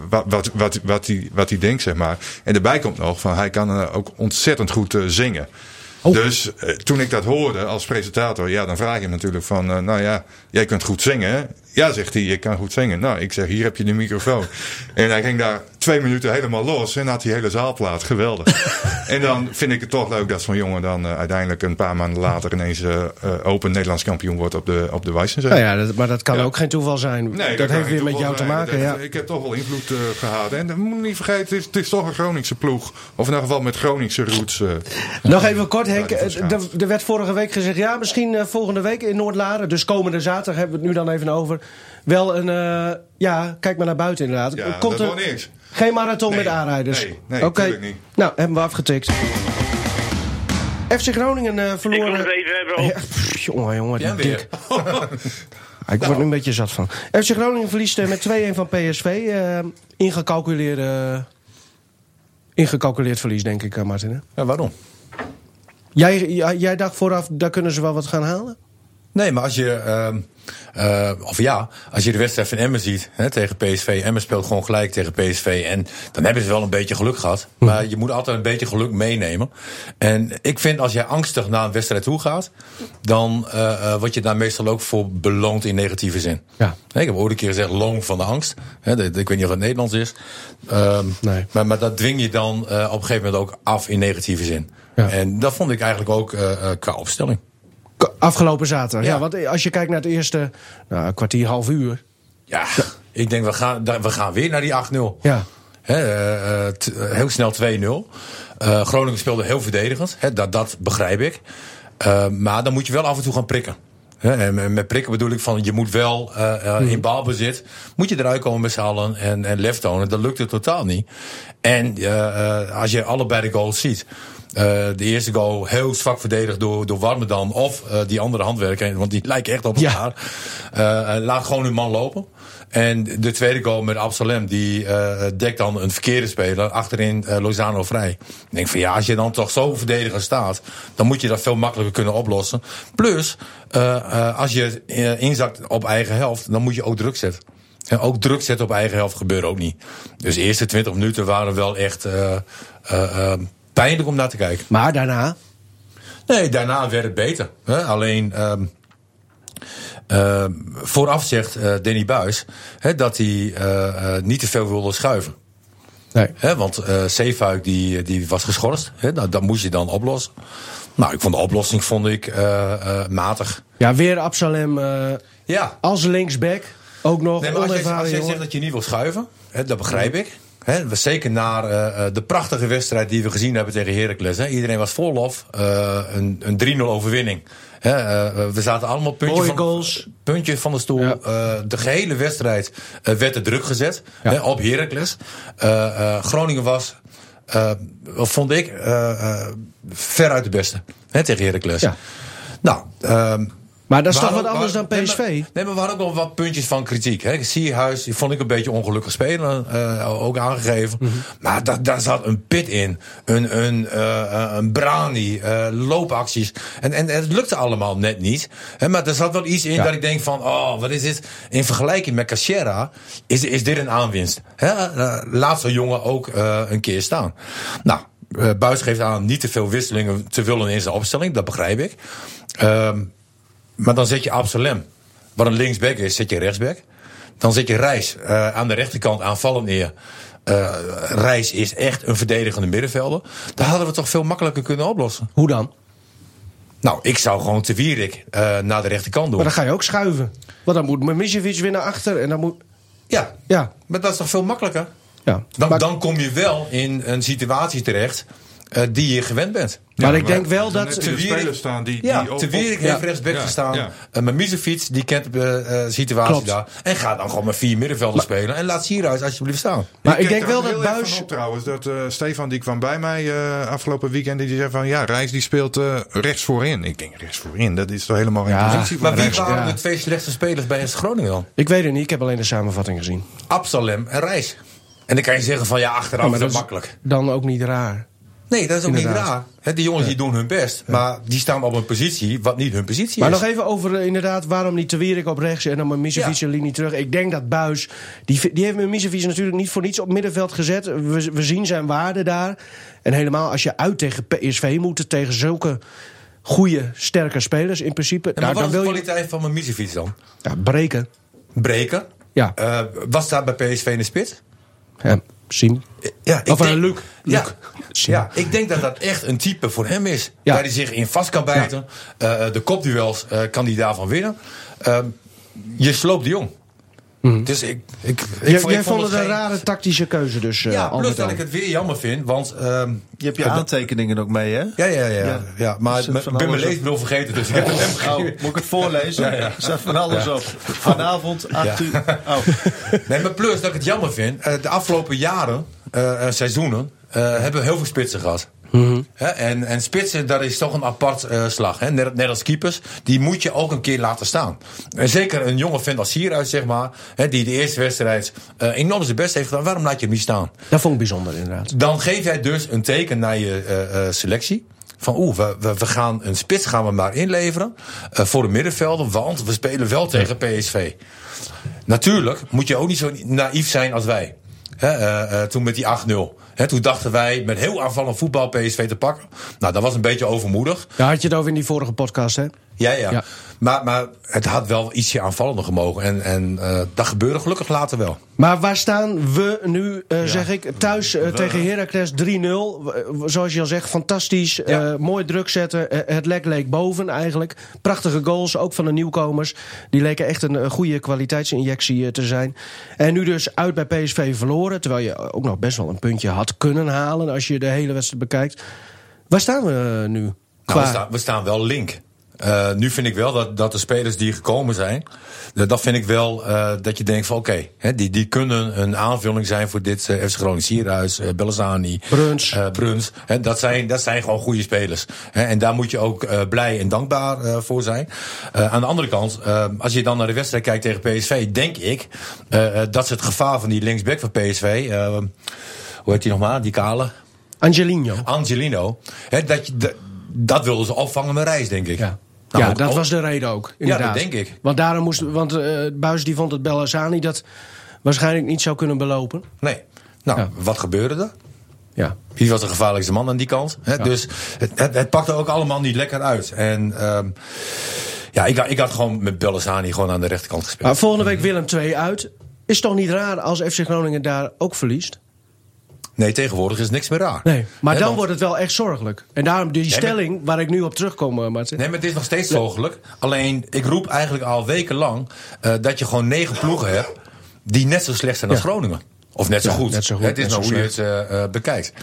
[SPEAKER 6] wat, wat, wat, wat, hij, wat hij denkt, zeg maar. En daarbij komt nog van, hij kan eh, ook ontzettend goed eh, zingen.
[SPEAKER 1] Oh.
[SPEAKER 6] Dus eh, toen ik dat hoorde als presentator, ja, dan vraag je hem natuurlijk van, eh, nou ja, jij kunt goed zingen. hè? Ja, zegt hij, ik kan goed zingen. Nou, ik zeg, hier heb je de microfoon. En hij ging daar twee minuten helemaal los en had die hele zaalplaat. Geweldig. en dan vind ik het toch leuk dat zo'n jongen dan eh, uiteindelijk een paar maanden later ineens eh, eh, open Nederlands kampioen wordt op de, op de Wijzenzee.
[SPEAKER 1] Nou ja, dat, maar dat kan ook geen toeval zijn. dat,
[SPEAKER 6] kan
[SPEAKER 1] heeft
[SPEAKER 6] geen
[SPEAKER 1] weer met
[SPEAKER 6] toeval
[SPEAKER 1] jou te
[SPEAKER 6] zijn.
[SPEAKER 1] maken,
[SPEAKER 6] Dat-
[SPEAKER 1] ja.
[SPEAKER 6] Ik heb toch wel invloed eh, gehad. En dat moet je niet vergeten, het is, het is toch een Groningse ploeg. Of in elk geval met Groningse roots. eh.
[SPEAKER 1] Nog even kort, Henk.
[SPEAKER 6] Ja, die
[SPEAKER 1] Eh, Er er werd vorige week gezegd, ja, misschien eh, volgende week in Noordlaren. Dus komende zaterdag hebben we het nu dan even over. Wel een, eh, ja, kijk maar naar buiten inderdaad.
[SPEAKER 6] Ja,
[SPEAKER 1] Er
[SPEAKER 6] dat wordt niks.
[SPEAKER 1] Geen marathon
[SPEAKER 6] Nee,
[SPEAKER 1] met aanrijders.
[SPEAKER 6] nee, nee,
[SPEAKER 1] Oké.
[SPEAKER 6] tuurlijk niet.
[SPEAKER 1] Nou, hebben we afgetikt. FC Groningen eh
[SPEAKER 7] Ik wil
[SPEAKER 1] verloren...
[SPEAKER 7] het even hebben
[SPEAKER 1] Ja,
[SPEAKER 7] over
[SPEAKER 1] pff, jongen, jongen,
[SPEAKER 2] Ja,
[SPEAKER 1] die dik.
[SPEAKER 2] weer.
[SPEAKER 1] Ah, Ik
[SPEAKER 6] Nou.
[SPEAKER 1] word nu een beetje zat van. FC Groningen verliest eh, met 2-1 van PSV. eh, ingecalculeerde, ingecalculeerd verlies, denk ik, eh, Martin. hè?
[SPEAKER 2] Ja, waarom?
[SPEAKER 1] Jij, jij, jij dacht vooraf, daar kunnen ze wel wat gaan halen?
[SPEAKER 2] Nee, maar als je. ehm, eh, of ja, als je de wedstrijd van Emmen ziet hè, tegen PSV. Emmen speelt gewoon gelijk tegen PSV. En dan hebben ze wel een beetje geluk gehad.
[SPEAKER 1] Mhm.
[SPEAKER 2] Maar je moet altijd een beetje geluk meenemen. En ik vind als jij angstig naar een wedstrijd toe gaat. dan eh, eh, word je daar meestal ook voor beloond in negatieve zin.
[SPEAKER 1] Ja.
[SPEAKER 2] Hè, ik heb ooit een keer gezegd: loon van de angst. Hè, dat- ik weet niet of het Nederlands is. Ehm,
[SPEAKER 1] Nee.
[SPEAKER 2] maar, maar dat dwing je dan eh, op een gegeven moment ook af in negatieve zin.
[SPEAKER 1] Ja.
[SPEAKER 2] En dat vond ik eigenlijk ook eh, eh, qua opstelling.
[SPEAKER 1] K- Afgelopen zaterdag. Ja.
[SPEAKER 2] Ja.
[SPEAKER 1] want eh, als je kijkt naar het eerste nou, kwartier, half uur.
[SPEAKER 2] Ja, ik denk we gaan, da- we gaan weer naar die 8-0.
[SPEAKER 1] Ja.
[SPEAKER 2] Hè, eh, eh, t- eh, heel snel 2-0. Eh, Groningen speelde heel verdedigend. Hè, dat, dat begrijp ik. Eh, maar dan moet je wel af en toe gaan prikken. Hè, en en met prikken bedoel ik van je moet wel eh, eh, in balbezit. Moet je eruit komen met z'n allen en, en lef tonen. Dat lukte totaal niet. En eh, eh, als je allebei de goals ziet. eh, de eerste goal heel zwak verdedigd door, door Warmerdam. Of eh, die andere handwerker. Want die lijken echt op
[SPEAKER 1] Ja.
[SPEAKER 2] elkaar. Eh, eh, laat gewoon hun man lopen. En de tweede goal met Absalem, die eh, dekt dan een verkeerde speler. Achterin eh, Lozano vrij. Ik denk van ja, als je dan toch zo verdedigend staat, dan moet je dat veel makkelijker kunnen oplossen. Plus, eh, eh, als je eh, inzakt op eigen helft, dan moet je ook druk zetten. En ook druk zetten op eigen helft gebeurt ook niet. Dus de eerste 20 minuten waren wel echt eh, eh, eh, pijnlijk om naar te kijken.
[SPEAKER 1] Maar daarna.
[SPEAKER 2] Nee, daarna werd het beter. Hè? Alleen ehm, ehm, vooraf zegt eh Danny Buis hè, dat hij eh, eh, niet te veel wilde schuiven.
[SPEAKER 1] Nee.
[SPEAKER 2] Hè? Want eh Zeefuik die, die was geschorst. Hè? Nou, dat moest je dan oplossen. Nou, ik vond de oplossing vond ik, eh, eh, matig.
[SPEAKER 1] Ja, weer Absalem eh,
[SPEAKER 2] Ja,
[SPEAKER 1] als linksback. Ook nog
[SPEAKER 2] Nee, maar als jij, als
[SPEAKER 1] onervaren
[SPEAKER 2] jij
[SPEAKER 1] jongen.
[SPEAKER 2] zegt dat je niet wil schuiven, hè, dat begrijp ik. Hè, zeker na eh, eh, de prachtige wedstrijd die we gezien hebben tegen Heracles. Hè. Iedereen was vol lof. eh, een een 3-0 overwinning. Hè, eh, eh, we zaten allemaal puntje
[SPEAKER 1] Mooie
[SPEAKER 2] van,
[SPEAKER 1] goals.
[SPEAKER 2] puntje van de stoel.
[SPEAKER 1] Ja.
[SPEAKER 2] Eh, de gehele wedstrijd eh, werd er druk gezet
[SPEAKER 1] Ja.
[SPEAKER 2] hè, op Heracles. Eh, eh, Groningen was, eh, vond ik, eh, eh, veruit de beste hè, tegen Heracles.
[SPEAKER 1] Ja.
[SPEAKER 2] Nou, ehm,
[SPEAKER 1] Maar dat is toch
[SPEAKER 2] Waarom-
[SPEAKER 1] wat anders dan
[SPEAKER 2] waarom-
[SPEAKER 1] PSV?
[SPEAKER 2] Nee maar, nee, maar we hadden ook wel wat puntjes van kritiek. Hè. Sierhuis die vond ik een beetje ongelukkig spelen, eh, ook aangegeven.
[SPEAKER 1] Mhm.
[SPEAKER 2] Maar da- daar zat een pit in, een, een, eh, eh, een brani, eh, loopacties. En, en het lukte allemaal net niet. Hè, maar er zat wel iets in dat ik denk van, oh, wat is dit? In vergelijking met Cachera is, is dit een aanwinst. Hè? Eh, laat zo'n jongen ook eh, een keer staan. Nou, eh, Buis geeft aan niet te veel wisselingen te willen in zijn opstelling. Dat begrijp ik. Ehm, maar dan zet je Absalem, wat een linksback is, zet je rechtsback. Dan zet je Reis eh, aan de rechterkant aanvallend neer. Eh Reis is echt een verdedigende middenvelder. Daar hadden we toch veel makkelijker kunnen oplossen.
[SPEAKER 1] Hoe dan?
[SPEAKER 2] Nou, ik zou gewoon te Wierik eh, naar de rechterkant doen.
[SPEAKER 1] Maar dan ga je ook schuiven. Want dan moet Mimicevic weer naar achter. En dan moet...
[SPEAKER 2] Ja,
[SPEAKER 1] Ja.
[SPEAKER 2] maar dat is toch veel makkelijker?
[SPEAKER 1] ja.
[SPEAKER 2] Dan,
[SPEAKER 1] maar
[SPEAKER 2] dan kom je wel in een situatie terecht eh, die je gewend bent.
[SPEAKER 1] maar ik denk wel
[SPEAKER 6] Dan
[SPEAKER 1] dat...
[SPEAKER 6] heb
[SPEAKER 2] Te
[SPEAKER 6] je de
[SPEAKER 2] Wierik-
[SPEAKER 6] spelers staan die,
[SPEAKER 2] Ja,
[SPEAKER 6] die op-
[SPEAKER 2] te Wierik
[SPEAKER 6] op-
[SPEAKER 2] heeft
[SPEAKER 6] Ja.
[SPEAKER 2] rechtsback
[SPEAKER 6] Ja,
[SPEAKER 2] gestaan.
[SPEAKER 6] ja.
[SPEAKER 2] Eh, maar Misefiets, die kent de eh, situatie
[SPEAKER 1] Klopt.
[SPEAKER 2] daar. En ga dan gewoon met vier middenvelden spelen. En laat Sierhuis alsjeblieft staan.
[SPEAKER 1] Maar ik
[SPEAKER 6] keek
[SPEAKER 1] denk
[SPEAKER 6] er
[SPEAKER 1] wel
[SPEAKER 6] ook
[SPEAKER 1] dat
[SPEAKER 6] heel erg van
[SPEAKER 1] Buis...
[SPEAKER 6] op trouwens, dat eh, Stefan die kwam bij mij eh, afgelopen weekend. Die zei van ja, Reis die speelt eh, rechts voorin. Ik denk rechts voorin, dat is toch helemaal geen
[SPEAKER 1] Ja.
[SPEAKER 6] positie voor
[SPEAKER 2] Maar wie
[SPEAKER 6] rechts.
[SPEAKER 2] waren
[SPEAKER 1] ja.
[SPEAKER 2] de twee slechtste spelers bij SC Groningen dan?
[SPEAKER 1] Ik weet het niet. Ik heb alleen de samenvatting gezien.
[SPEAKER 2] Absalem en Reis. En dan kan je zeggen van ja, achteraf
[SPEAKER 1] Ja,
[SPEAKER 2] is
[SPEAKER 1] Oh, dat
[SPEAKER 2] dat
[SPEAKER 1] is
[SPEAKER 2] makkelijk.
[SPEAKER 1] Dan ook niet raar.
[SPEAKER 2] Nee, dat is ook niet
[SPEAKER 1] Inderdaad.
[SPEAKER 2] raar. Hè, die jongens die doen hun best, maar die staan op een positie wat niet hun positie
[SPEAKER 1] Maar
[SPEAKER 2] is.
[SPEAKER 1] nog even over eh, inderdaad, waarom niet te Wierik op rechts en dan mijn Misevic
[SPEAKER 2] Ja.
[SPEAKER 1] een linie terug. Ik denk dat Buis, die, vi- die heeft mijn Misevic natuurlijk niet voor niets op middenveld gezet. We, we zien zijn waarde daar. En helemaal als je uit tegen PSV moet, tegen zulke goede, sterke spelers in principe.
[SPEAKER 2] Ja,
[SPEAKER 1] nou,
[SPEAKER 2] maar wat
[SPEAKER 1] dan
[SPEAKER 2] is de
[SPEAKER 1] wil je
[SPEAKER 2] kwaliteit van mijn Misefiets dan?
[SPEAKER 1] ja, breken.
[SPEAKER 2] Breken?
[SPEAKER 1] Ja.
[SPEAKER 2] Eh, wat staat bij PSV in de spits?
[SPEAKER 1] Ja, zien.
[SPEAKER 2] Ja, ik
[SPEAKER 1] Of, eh,
[SPEAKER 2] denk-
[SPEAKER 1] Luc.
[SPEAKER 2] Ja,
[SPEAKER 1] Luc.
[SPEAKER 2] ja, ik denk dat dat echt een type voor hem is.
[SPEAKER 1] Ja.
[SPEAKER 2] Waar hij zich in vast kan bijten. Eh, de kopduels eh, kan hij daarvan winnen. Ehm, je sloopt de jong. Dus ik, ik, ik,
[SPEAKER 1] Mhm. Jij,
[SPEAKER 2] ik
[SPEAKER 1] jij vond het een
[SPEAKER 2] geen-
[SPEAKER 1] rare tactische keuze dus, eh,
[SPEAKER 2] Ja,
[SPEAKER 1] al
[SPEAKER 2] plus
[SPEAKER 1] met
[SPEAKER 2] dat
[SPEAKER 1] al.
[SPEAKER 2] ik het weer jammer vind, want... ehm,
[SPEAKER 3] Je hebt je
[SPEAKER 2] eh, dat-
[SPEAKER 3] aantekeningen ook mee, hè?
[SPEAKER 2] ja, ja, ja, ja,
[SPEAKER 3] Ja.
[SPEAKER 2] Maar
[SPEAKER 3] Er
[SPEAKER 2] ik
[SPEAKER 3] zit
[SPEAKER 2] ben
[SPEAKER 3] van
[SPEAKER 2] mijn
[SPEAKER 3] alles op.
[SPEAKER 2] leesbril vergeten, dus ik heb het hem
[SPEAKER 3] Oh,
[SPEAKER 2] gegeven.
[SPEAKER 3] moet ik het voorlezen? Er staat van alles op. Vanavond, 8 uur. Oh.
[SPEAKER 2] Nee, maar plus dat ik het jammer vind. eh, De afgelopen jaren, eh, eh, seizoenen, eh, hebben we heel veel spitsen gehad. Hè, en, en spitsen, dat is toch een apart eh, slag. Hè? Net, net als keepers, die moet je ook een keer laten staan. En zeker een jonge vent als Sierhuis, zeg maar, hè, die de eerste wedstrijd eh, enorm zijn best heeft gedaan. Waarom laat je hem niet staan?
[SPEAKER 1] Dat vond ik bijzonder inderdaad.
[SPEAKER 2] Dan geef jij dus een teken naar je eh, eh, selectie. Van oeh, we, we, we gaan een spits gaan we maar inleveren eh, voor de middenvelden. Want we spelen wel tegen PSV. Natuurlijk moet je ook niet zo naïef zijn als wij. Hè, eh, eh, toen met die 8-0. Hè, toen dachten wij met heel aanvallend voetbal PSV te pakken. Nou, dat was een beetje overmoedig.
[SPEAKER 1] Daar had je het over in die vorige podcast, hè?
[SPEAKER 2] Ja, ja.
[SPEAKER 1] Ja.
[SPEAKER 2] Maar, maar het had wel ietsje aanvallender gemogen. En, en eh, dat gebeurde gelukkig later wel.
[SPEAKER 1] Maar waar staan we nu, eh, zeg ik, thuis eh, tegen Heracles 3-0. W- Zoals je al zegt, fantastisch. eh, mooi druk zetten. Eh, het lek leek boven eigenlijk. Prachtige goals, ook van de nieuwkomers. Die leken echt een eh, goede kwaliteitsinjectie eh, te zijn. En nu dus uit bij PSV verloren. Terwijl je eh, ook nog best wel een puntje had kunnen halen als je de hele wedstrijd bekijkt. Waar staan we eh, nu?
[SPEAKER 2] Nou,
[SPEAKER 1] Qua-
[SPEAKER 2] we, staan, we staan wel link. Eh, nu vind ik wel dat, dat de spelers die gekomen zijn, dat, dat vind ik wel eh, dat je denkt van oké, hè, die, die kunnen een aanvulling zijn voor dit eh FC Groningen Sierhuis, eh Bellazzani,
[SPEAKER 1] Bruns.
[SPEAKER 2] eh, Bruns. Hè, dat, zijn, dat zijn gewoon goede spelers. Hè, en daar moet je ook eh, blij en dankbaar eh, voor zijn. Eh, aan de andere kant, eh, als je dan naar de wedstrijd kijkt tegen PSV, denk ik eh, eh, dat ze het gevaar van die linksback van PSV, eh, hoe heet die nog maar, die kale?
[SPEAKER 1] Angelino.
[SPEAKER 2] Angelino. Hè, dat, je- dat, dat wilden ze opvangen met reis, denk ik.
[SPEAKER 1] Ja.
[SPEAKER 2] Nou,
[SPEAKER 1] ja,
[SPEAKER 2] ook-
[SPEAKER 1] dat
[SPEAKER 2] ook-
[SPEAKER 1] was de reden ook. Inderdaad.
[SPEAKER 2] denk ik.
[SPEAKER 1] Want daarom moest. Want eh Buis die vond dat Bellazzani dat waarschijnlijk niet zou kunnen belopen.
[SPEAKER 2] Nee. Nou,
[SPEAKER 1] Ja.
[SPEAKER 2] wat gebeurde er?
[SPEAKER 1] Ja.
[SPEAKER 2] Wie was de gevaarlijkste man aan die kant? Hè? Dus het, het, het pakte ook allemaal niet lekker uit. En ehm, ja, ik, had- ik had gewoon met Bellazzani gewoon aan de rechterkant gespeeld.
[SPEAKER 1] Maar volgende week Willem 2 uit. Is toch niet raar als FC Groningen daar ook verliest?
[SPEAKER 2] Nee, tegenwoordig is niks meer raar.
[SPEAKER 1] Maar dan
[SPEAKER 2] Hè, want-
[SPEAKER 1] wordt het wel echt zorgelijk. En daarom die
[SPEAKER 2] maar-
[SPEAKER 1] stelling waar ik nu op terugkom, eh, Martin.
[SPEAKER 2] Nee, maar het is nog steeds mogelijk. Alleen, ik roep eigenlijk al wekenlang eh dat je gewoon negen ploegen hebt die net zo slecht zijn als Groningen. Of net zo,
[SPEAKER 1] Ja,
[SPEAKER 2] goed.
[SPEAKER 1] net zo goed,
[SPEAKER 2] Het is
[SPEAKER 1] net
[SPEAKER 2] maar
[SPEAKER 1] zo
[SPEAKER 2] hoe je het eh, eh, bekijkt.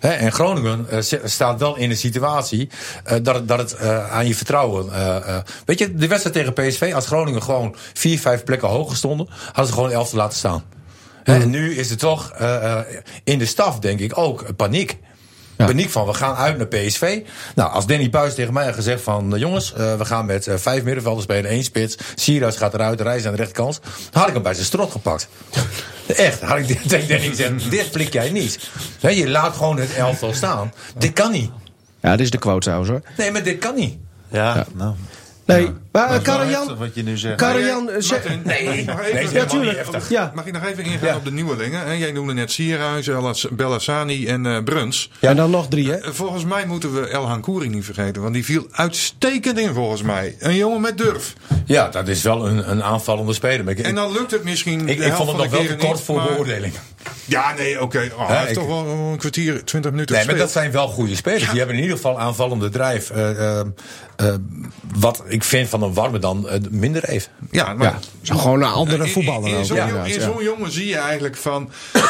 [SPEAKER 2] Hè, en Groningen eh, zi- staat wel in een situatie eh, dat, het- dat het eh, aan je vertrouwen. eh, eh, weet je, de wedstrijd tegen PSV, als Groningen gewoon vier, vijf plekken hoger stonden, hadden ze gewoon elf te laten staan. Hè, en nu is er toch eh, eh, in de staf, denk ik, ook paniek. Paniek van, we gaan uit naar PSV. Nou, als Danny Buis tegen mij had gezegd van... eh, jongens, eh, we gaan met eh, vijf middenvelders spelen, één spits. Sierhuis gaat eruit, Reis aan de rechterkant. Dan had ik hem bij zijn strot gepakt. Echt, had ik tegen Danny gezegd, dit flik jij niet. Hè, je laat gewoon het elftal staan. Dit kan niet.
[SPEAKER 1] Ja, dit is de quote trouwens hoor.
[SPEAKER 2] Nee, maar dit kan niet.
[SPEAKER 3] Ja, nou.
[SPEAKER 1] Nee, maar eh,
[SPEAKER 3] Dat is wel
[SPEAKER 1] Karajan.
[SPEAKER 3] heftig Wat je nu zegt.
[SPEAKER 1] Karajan, eh, zeg-
[SPEAKER 6] Martin,
[SPEAKER 2] Nee, nee,
[SPEAKER 6] mag
[SPEAKER 2] het
[SPEAKER 6] ik-
[SPEAKER 2] is
[SPEAKER 1] Ja,
[SPEAKER 2] helemaal niet
[SPEAKER 1] tuurlijk.
[SPEAKER 2] heftig.
[SPEAKER 1] Ja.
[SPEAKER 6] Mag ik nog even ingaan op de nieuwelingen? hè? Jij noemde net Sierhuis, Elas- Bellassani en eh, Bruns.
[SPEAKER 1] En dan nog drie, hè?
[SPEAKER 6] Eh, Volgens mij moeten we El Hankouri niet vergeten, want die viel uitstekend in volgens mij. Een jongen met durf.
[SPEAKER 2] Ja, dat is wel een, een aanvallende speler. Maar ik,
[SPEAKER 6] En
[SPEAKER 2] ik,
[SPEAKER 6] dan lukt het misschien. de
[SPEAKER 2] ik, ik
[SPEAKER 6] helft
[SPEAKER 2] vond het
[SPEAKER 6] van
[SPEAKER 2] nog
[SPEAKER 6] de
[SPEAKER 2] wel te
[SPEAKER 6] keren
[SPEAKER 2] kort
[SPEAKER 6] niet,
[SPEAKER 2] voor
[SPEAKER 6] maar-
[SPEAKER 2] beoordeling.
[SPEAKER 6] Ja, nee, oké. Oh,
[SPEAKER 2] Ja,
[SPEAKER 6] hij heeft
[SPEAKER 2] ik-
[SPEAKER 6] toch wel een kwartier, twintig minuten
[SPEAKER 2] Nee, maar dat
[SPEAKER 6] gespeeld.
[SPEAKER 2] zijn wel goede spelers. Die hebben in ieder geval aanvallende drijf. Eh, eh, eh, wat ik vind van een warme dan eh, minder heeft.
[SPEAKER 6] Ja, maar
[SPEAKER 1] Ja, zo gewoon een andere
[SPEAKER 6] In-
[SPEAKER 1] voetballer
[SPEAKER 6] In, in
[SPEAKER 1] ook.
[SPEAKER 6] zo'n
[SPEAKER 1] Ja,
[SPEAKER 6] jong- in
[SPEAKER 1] ja.
[SPEAKER 6] zo'n jongen zie je eigenlijk van eh,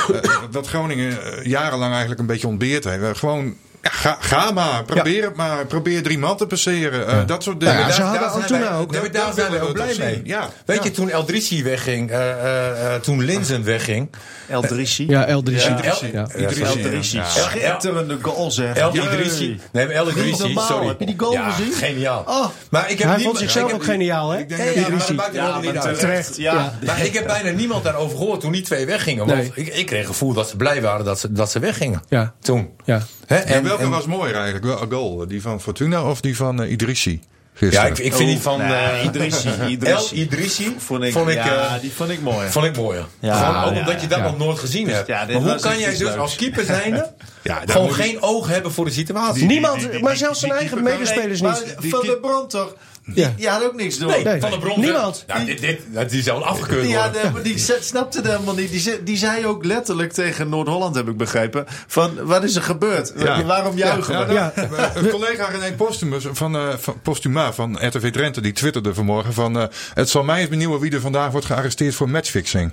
[SPEAKER 6] dat Groningen eh, jarenlang eigenlijk een beetje ontbeerd heeft. Eh, Gewoon, ja, ga, ga maar, probeer het maar, probeer drie man te passeren. eh, Dat soort dingen.
[SPEAKER 1] Ja, ze
[SPEAKER 6] Daar-
[SPEAKER 1] hadden
[SPEAKER 6] daar
[SPEAKER 1] ook
[SPEAKER 6] zijn
[SPEAKER 1] toen
[SPEAKER 6] wij-
[SPEAKER 1] ook.
[SPEAKER 2] Nee, maar daar zijn we
[SPEAKER 6] willen
[SPEAKER 2] ook blij
[SPEAKER 6] toch
[SPEAKER 2] mee.
[SPEAKER 6] zien. Ja,
[SPEAKER 2] Weet
[SPEAKER 6] ja.
[SPEAKER 2] je, toen Eldrissi wegging, eh, eh, eh, toen Linzen wegging.
[SPEAKER 3] El Drissi.
[SPEAKER 1] Ja, El Drissi.
[SPEAKER 3] Ja.
[SPEAKER 2] El,
[SPEAKER 1] Ja.
[SPEAKER 3] El
[SPEAKER 6] Idrissi, ja.
[SPEAKER 3] Drissi.
[SPEAKER 2] Ja.
[SPEAKER 3] Schitterende goal zeg.
[SPEAKER 2] El
[SPEAKER 3] Jee.
[SPEAKER 2] Idrissi. Nee, maar El Idrissi,
[SPEAKER 3] normaal.
[SPEAKER 2] sorry.
[SPEAKER 3] Heb je die goal
[SPEAKER 2] ja,
[SPEAKER 3] gezien?
[SPEAKER 2] Geniaal.
[SPEAKER 1] Oh,
[SPEAKER 2] maar ik heb
[SPEAKER 1] Hij
[SPEAKER 2] niet-
[SPEAKER 1] vond
[SPEAKER 2] ik
[SPEAKER 1] zichzelf
[SPEAKER 2] heb-
[SPEAKER 1] ook geniaal, hè?
[SPEAKER 6] Ik denk
[SPEAKER 2] Ja,
[SPEAKER 6] dat
[SPEAKER 2] ja, maar dat
[SPEAKER 1] Idrissi.
[SPEAKER 2] maakt er
[SPEAKER 3] Ja,
[SPEAKER 2] helemaal niet
[SPEAKER 3] maar
[SPEAKER 2] uit.
[SPEAKER 3] terecht. Ja.
[SPEAKER 2] Maar ik heb bijna niemand daarover gehoord toen die twee weggingen. Want
[SPEAKER 1] Nee.
[SPEAKER 2] ik, ik kreeg het gevoel dat ze blij waren dat ze, dat ze weggingen.
[SPEAKER 1] Ja.
[SPEAKER 2] Toen.
[SPEAKER 1] Ja.
[SPEAKER 2] Hè,
[SPEAKER 6] En, welke was mooier eigenlijk? Wel, een goal? Die van Fortuna of die van eh, Idrissi?
[SPEAKER 2] Ja,
[SPEAKER 6] Gisteren.
[SPEAKER 2] ik, ik vind die van...
[SPEAKER 3] Nee,
[SPEAKER 2] eh,
[SPEAKER 3] Idrissi.
[SPEAKER 2] El
[SPEAKER 3] Oh. Nou, Idrissi.
[SPEAKER 2] Idrissi
[SPEAKER 3] Vond ik, ja,
[SPEAKER 2] eh,
[SPEAKER 3] die vond ik mooi.
[SPEAKER 2] Vond ik mooier.
[SPEAKER 3] Ja,
[SPEAKER 2] Gewoon ook
[SPEAKER 3] ja,
[SPEAKER 2] omdat je dat
[SPEAKER 1] ja.
[SPEAKER 2] nog nooit gezien hebt.
[SPEAKER 3] Ja, dit
[SPEAKER 2] maar hoe
[SPEAKER 3] was
[SPEAKER 2] kan
[SPEAKER 3] iets
[SPEAKER 2] jij dus
[SPEAKER 3] leuks.
[SPEAKER 2] als keeper zijnde
[SPEAKER 6] Ja, daar
[SPEAKER 2] gewoon
[SPEAKER 6] moet je-
[SPEAKER 2] geen oog hebben voor de situatie?
[SPEAKER 1] Niemand, maar zelfs zijn eigen medespelers
[SPEAKER 3] Nee,
[SPEAKER 1] niet.
[SPEAKER 3] maar Van
[SPEAKER 6] die-
[SPEAKER 3] der Bron toch?
[SPEAKER 1] Ja.
[SPEAKER 3] Die had ook niks door.
[SPEAKER 2] Nee,
[SPEAKER 1] Nee.
[SPEAKER 2] van de bron.
[SPEAKER 1] Niemand.
[SPEAKER 2] Ja, dit, dit, dat die zou afgekeurd
[SPEAKER 3] Die,
[SPEAKER 2] worden.
[SPEAKER 3] had, eh, die ze- snapte het helemaal niet. Die, ze- die zei ook letterlijk tegen Noord-Holland, heb ik begrepen. Van, wat is er gebeurd?
[SPEAKER 6] Ja.
[SPEAKER 3] Waarom juichen we?
[SPEAKER 1] Ja.
[SPEAKER 6] Eh, Een collega René Postumus van, eh, van Postuma van RTV Drenthe die twitterde vanmorgen van eh, het zal mij eens benieuwen wie er vandaag wordt gearresteerd voor matchfixing.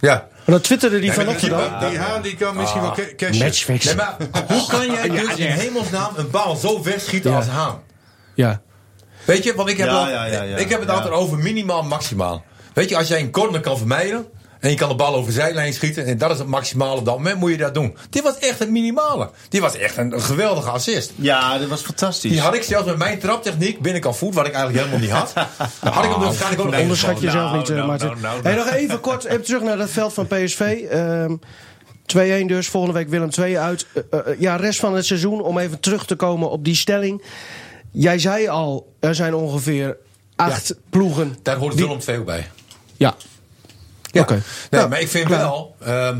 [SPEAKER 2] Ja.
[SPEAKER 1] Maar dat twitterde die vanochtend
[SPEAKER 6] die,
[SPEAKER 1] al.
[SPEAKER 6] die haan die kan misschien wel ca- cashen.
[SPEAKER 1] Ah,
[SPEAKER 2] Nee,
[SPEAKER 1] Matchfix.
[SPEAKER 2] maar hoe kan jij dus in hemelsnaam een bal zo wegschieten
[SPEAKER 1] Ja.
[SPEAKER 2] als Haan?
[SPEAKER 1] Ja.
[SPEAKER 2] Weet je, want ik heb,
[SPEAKER 3] Ja,
[SPEAKER 2] al-
[SPEAKER 3] ja, ja, ja.
[SPEAKER 2] ik heb het
[SPEAKER 3] Ja.
[SPEAKER 2] altijd over minimaal maximaal. Weet je, als jij een corner kan vermijden en je kan de bal over zijlijn schieten en dat is het maximale op dat moment, moet je dat doen. Dit was echt het minimale. Dit was echt een, een geweldige assist.
[SPEAKER 3] Ja, dat was fantastisch.
[SPEAKER 2] Die had ik zelfs met mijn traptechniek binnenkant voet, wat ik eigenlijk helemaal niet had. Had
[SPEAKER 3] Oh,
[SPEAKER 2] ik hem dus waarschijnlijk ook
[SPEAKER 1] Onderschat
[SPEAKER 2] neergevallen.
[SPEAKER 1] jezelf
[SPEAKER 3] Nou,
[SPEAKER 1] niet, eh,
[SPEAKER 3] nou,
[SPEAKER 1] Martin.
[SPEAKER 3] nou, nou,
[SPEAKER 1] Hey, nog even kort even terug naar dat veld van PSV. Ehm, 2-1 dus, volgende week Willem 2 uit. Eh, eh, ja, rest van het seizoen, om even terug te komen op die stelling. Jij zei al, er zijn ongeveer acht ploegen.
[SPEAKER 2] Daar hoort
[SPEAKER 1] die-
[SPEAKER 2] Willem 2 ook bij.
[SPEAKER 1] Ja.
[SPEAKER 2] Ja.
[SPEAKER 1] Oké.
[SPEAKER 2] Nee,
[SPEAKER 1] Nou,
[SPEAKER 2] maar ik vind
[SPEAKER 1] klaar.
[SPEAKER 2] wel ehm,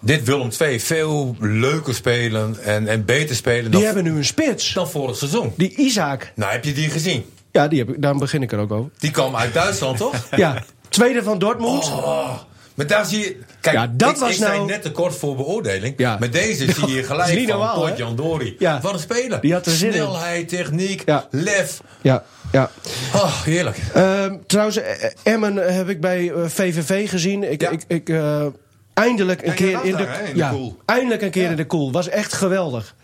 [SPEAKER 2] dit Willem 2 veel leuker spelen en, en beter spelen
[SPEAKER 1] Die
[SPEAKER 2] dan,
[SPEAKER 1] hebben nu een spits.
[SPEAKER 2] dan vorig seizoen.
[SPEAKER 1] Die Isaac.
[SPEAKER 2] Nou, heb je die gezien?
[SPEAKER 1] Ja, die heb ik, daar begin ik er ook over.
[SPEAKER 2] Die kwam uit Duitsland, toch?
[SPEAKER 1] Ja, tweede van Dortmund.
[SPEAKER 2] Oh, maar daar zie je... Kijk,
[SPEAKER 1] Ja, dat
[SPEAKER 2] ik,
[SPEAKER 1] was
[SPEAKER 2] ik zei
[SPEAKER 1] nou-
[SPEAKER 2] net te kort voor beoordeling.
[SPEAKER 1] Ja. Nou,
[SPEAKER 2] Maar deze zie je
[SPEAKER 1] Dat is
[SPEAKER 2] gelijk
[SPEAKER 1] niet
[SPEAKER 2] van
[SPEAKER 1] normaal, hè?
[SPEAKER 2] Port Jan Dori.
[SPEAKER 1] Ja.
[SPEAKER 2] Wat een speler.
[SPEAKER 1] Die had er zin in.
[SPEAKER 2] Snelheid, techniek,
[SPEAKER 1] Ja.
[SPEAKER 2] lef.
[SPEAKER 1] Ja, ja.
[SPEAKER 2] Oh, heerlijk.
[SPEAKER 1] Ehm, trouwens, eh, eh, Emmen heb ik bij eh, VVV gezien. Ik,
[SPEAKER 2] Ja.
[SPEAKER 1] ik, ik, eh, eindelijk een
[SPEAKER 6] Ja, jij
[SPEAKER 1] keer
[SPEAKER 6] was
[SPEAKER 1] in de,
[SPEAKER 6] daar, hè, in de
[SPEAKER 1] ja,
[SPEAKER 6] koel.
[SPEAKER 1] Eindelijk een keer in de koel. Was echt geweldig.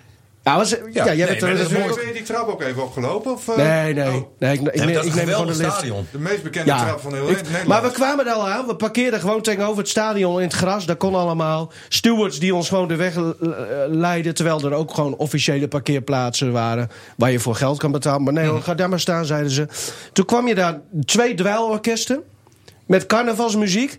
[SPEAKER 1] Ja, was, ja, jij
[SPEAKER 2] nee,
[SPEAKER 1] bent
[SPEAKER 2] maar
[SPEAKER 1] er
[SPEAKER 2] dat
[SPEAKER 1] natuurlijk
[SPEAKER 2] is mooi.
[SPEAKER 1] ook-
[SPEAKER 6] Ben Eh, dus je die trap ook even opgelopen? Of, eh?
[SPEAKER 1] Nee, nee.
[SPEAKER 6] Oh,
[SPEAKER 1] nee ik, ik,
[SPEAKER 2] Nee, maar
[SPEAKER 1] neem-
[SPEAKER 2] dat is
[SPEAKER 1] ik
[SPEAKER 2] een
[SPEAKER 1] neem gewoon
[SPEAKER 2] geweldig
[SPEAKER 1] de lift.
[SPEAKER 2] stadion.
[SPEAKER 6] de meest bekende
[SPEAKER 1] Ja,
[SPEAKER 6] trap van heel Nederland.
[SPEAKER 1] maar we kwamen er al aan. We parkeerden gewoon tegenover het stadion in het gras. Dat kon allemaal. Stewards die ons gewoon de weg eh, leidden. Terwijl er ook gewoon officiële parkeerplaatsen waren. Waar je voor geld kan betalen. Maar nee
[SPEAKER 6] Mhm.
[SPEAKER 1] hoor, ga daar maar staan, zeiden ze. Toen kwam je daar twee dweilorkesten. Met carnavalsmuziek.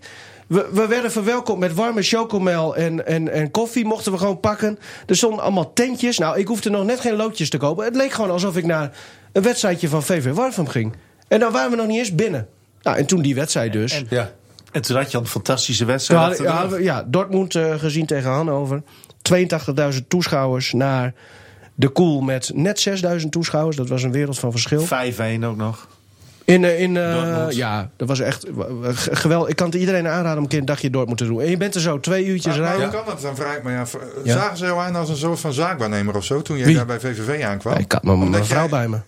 [SPEAKER 1] We, we werden verwelkomd met warme chocomel en, en, en koffie. Mochten we gewoon pakken. Er stonden allemaal tentjes. Nou, ik hoefde nog net geen loodjes te kopen. Het leek gewoon alsof ik naar een wedstrijdje van VV Warfum ging. En dan waren we nog niet eens binnen. Nou, en toen die wedstrijd dus.
[SPEAKER 2] Ja.
[SPEAKER 3] En toen had je al een fantastische
[SPEAKER 1] Toen
[SPEAKER 3] wedstrijd.
[SPEAKER 1] hadden-
[SPEAKER 3] achter de
[SPEAKER 1] ja,
[SPEAKER 3] rug.
[SPEAKER 1] we- ja, Dortmund eh, gezien tegen Hannover. 82.000 toeschouwers naar de Koel met net 6.000 toeschouwers. Dat was een wereld van verschil.
[SPEAKER 3] 5-1 ook nog.
[SPEAKER 1] In, eh, in, eh,
[SPEAKER 3] Dortmund.
[SPEAKER 1] ja, dat was echt eh, g- geweldig. Ik kan het iedereen aanraden om een keer een dagje Dortmund te doen. En je bent er zo twee
[SPEAKER 3] Ah,
[SPEAKER 1] uurtjes
[SPEAKER 6] Maar
[SPEAKER 1] rijden.
[SPEAKER 6] hoe kan dat dan? Vraag ik me af.
[SPEAKER 1] Ja.
[SPEAKER 6] Zagen ze jou aan als een soort van zaakwaarnemer of zo toen jij
[SPEAKER 1] Wie?
[SPEAKER 6] daar bij VVV aankwam?
[SPEAKER 1] Nee, ik had mijn, mijn
[SPEAKER 6] Omdat
[SPEAKER 1] vrouw
[SPEAKER 6] jij-
[SPEAKER 1] bij me.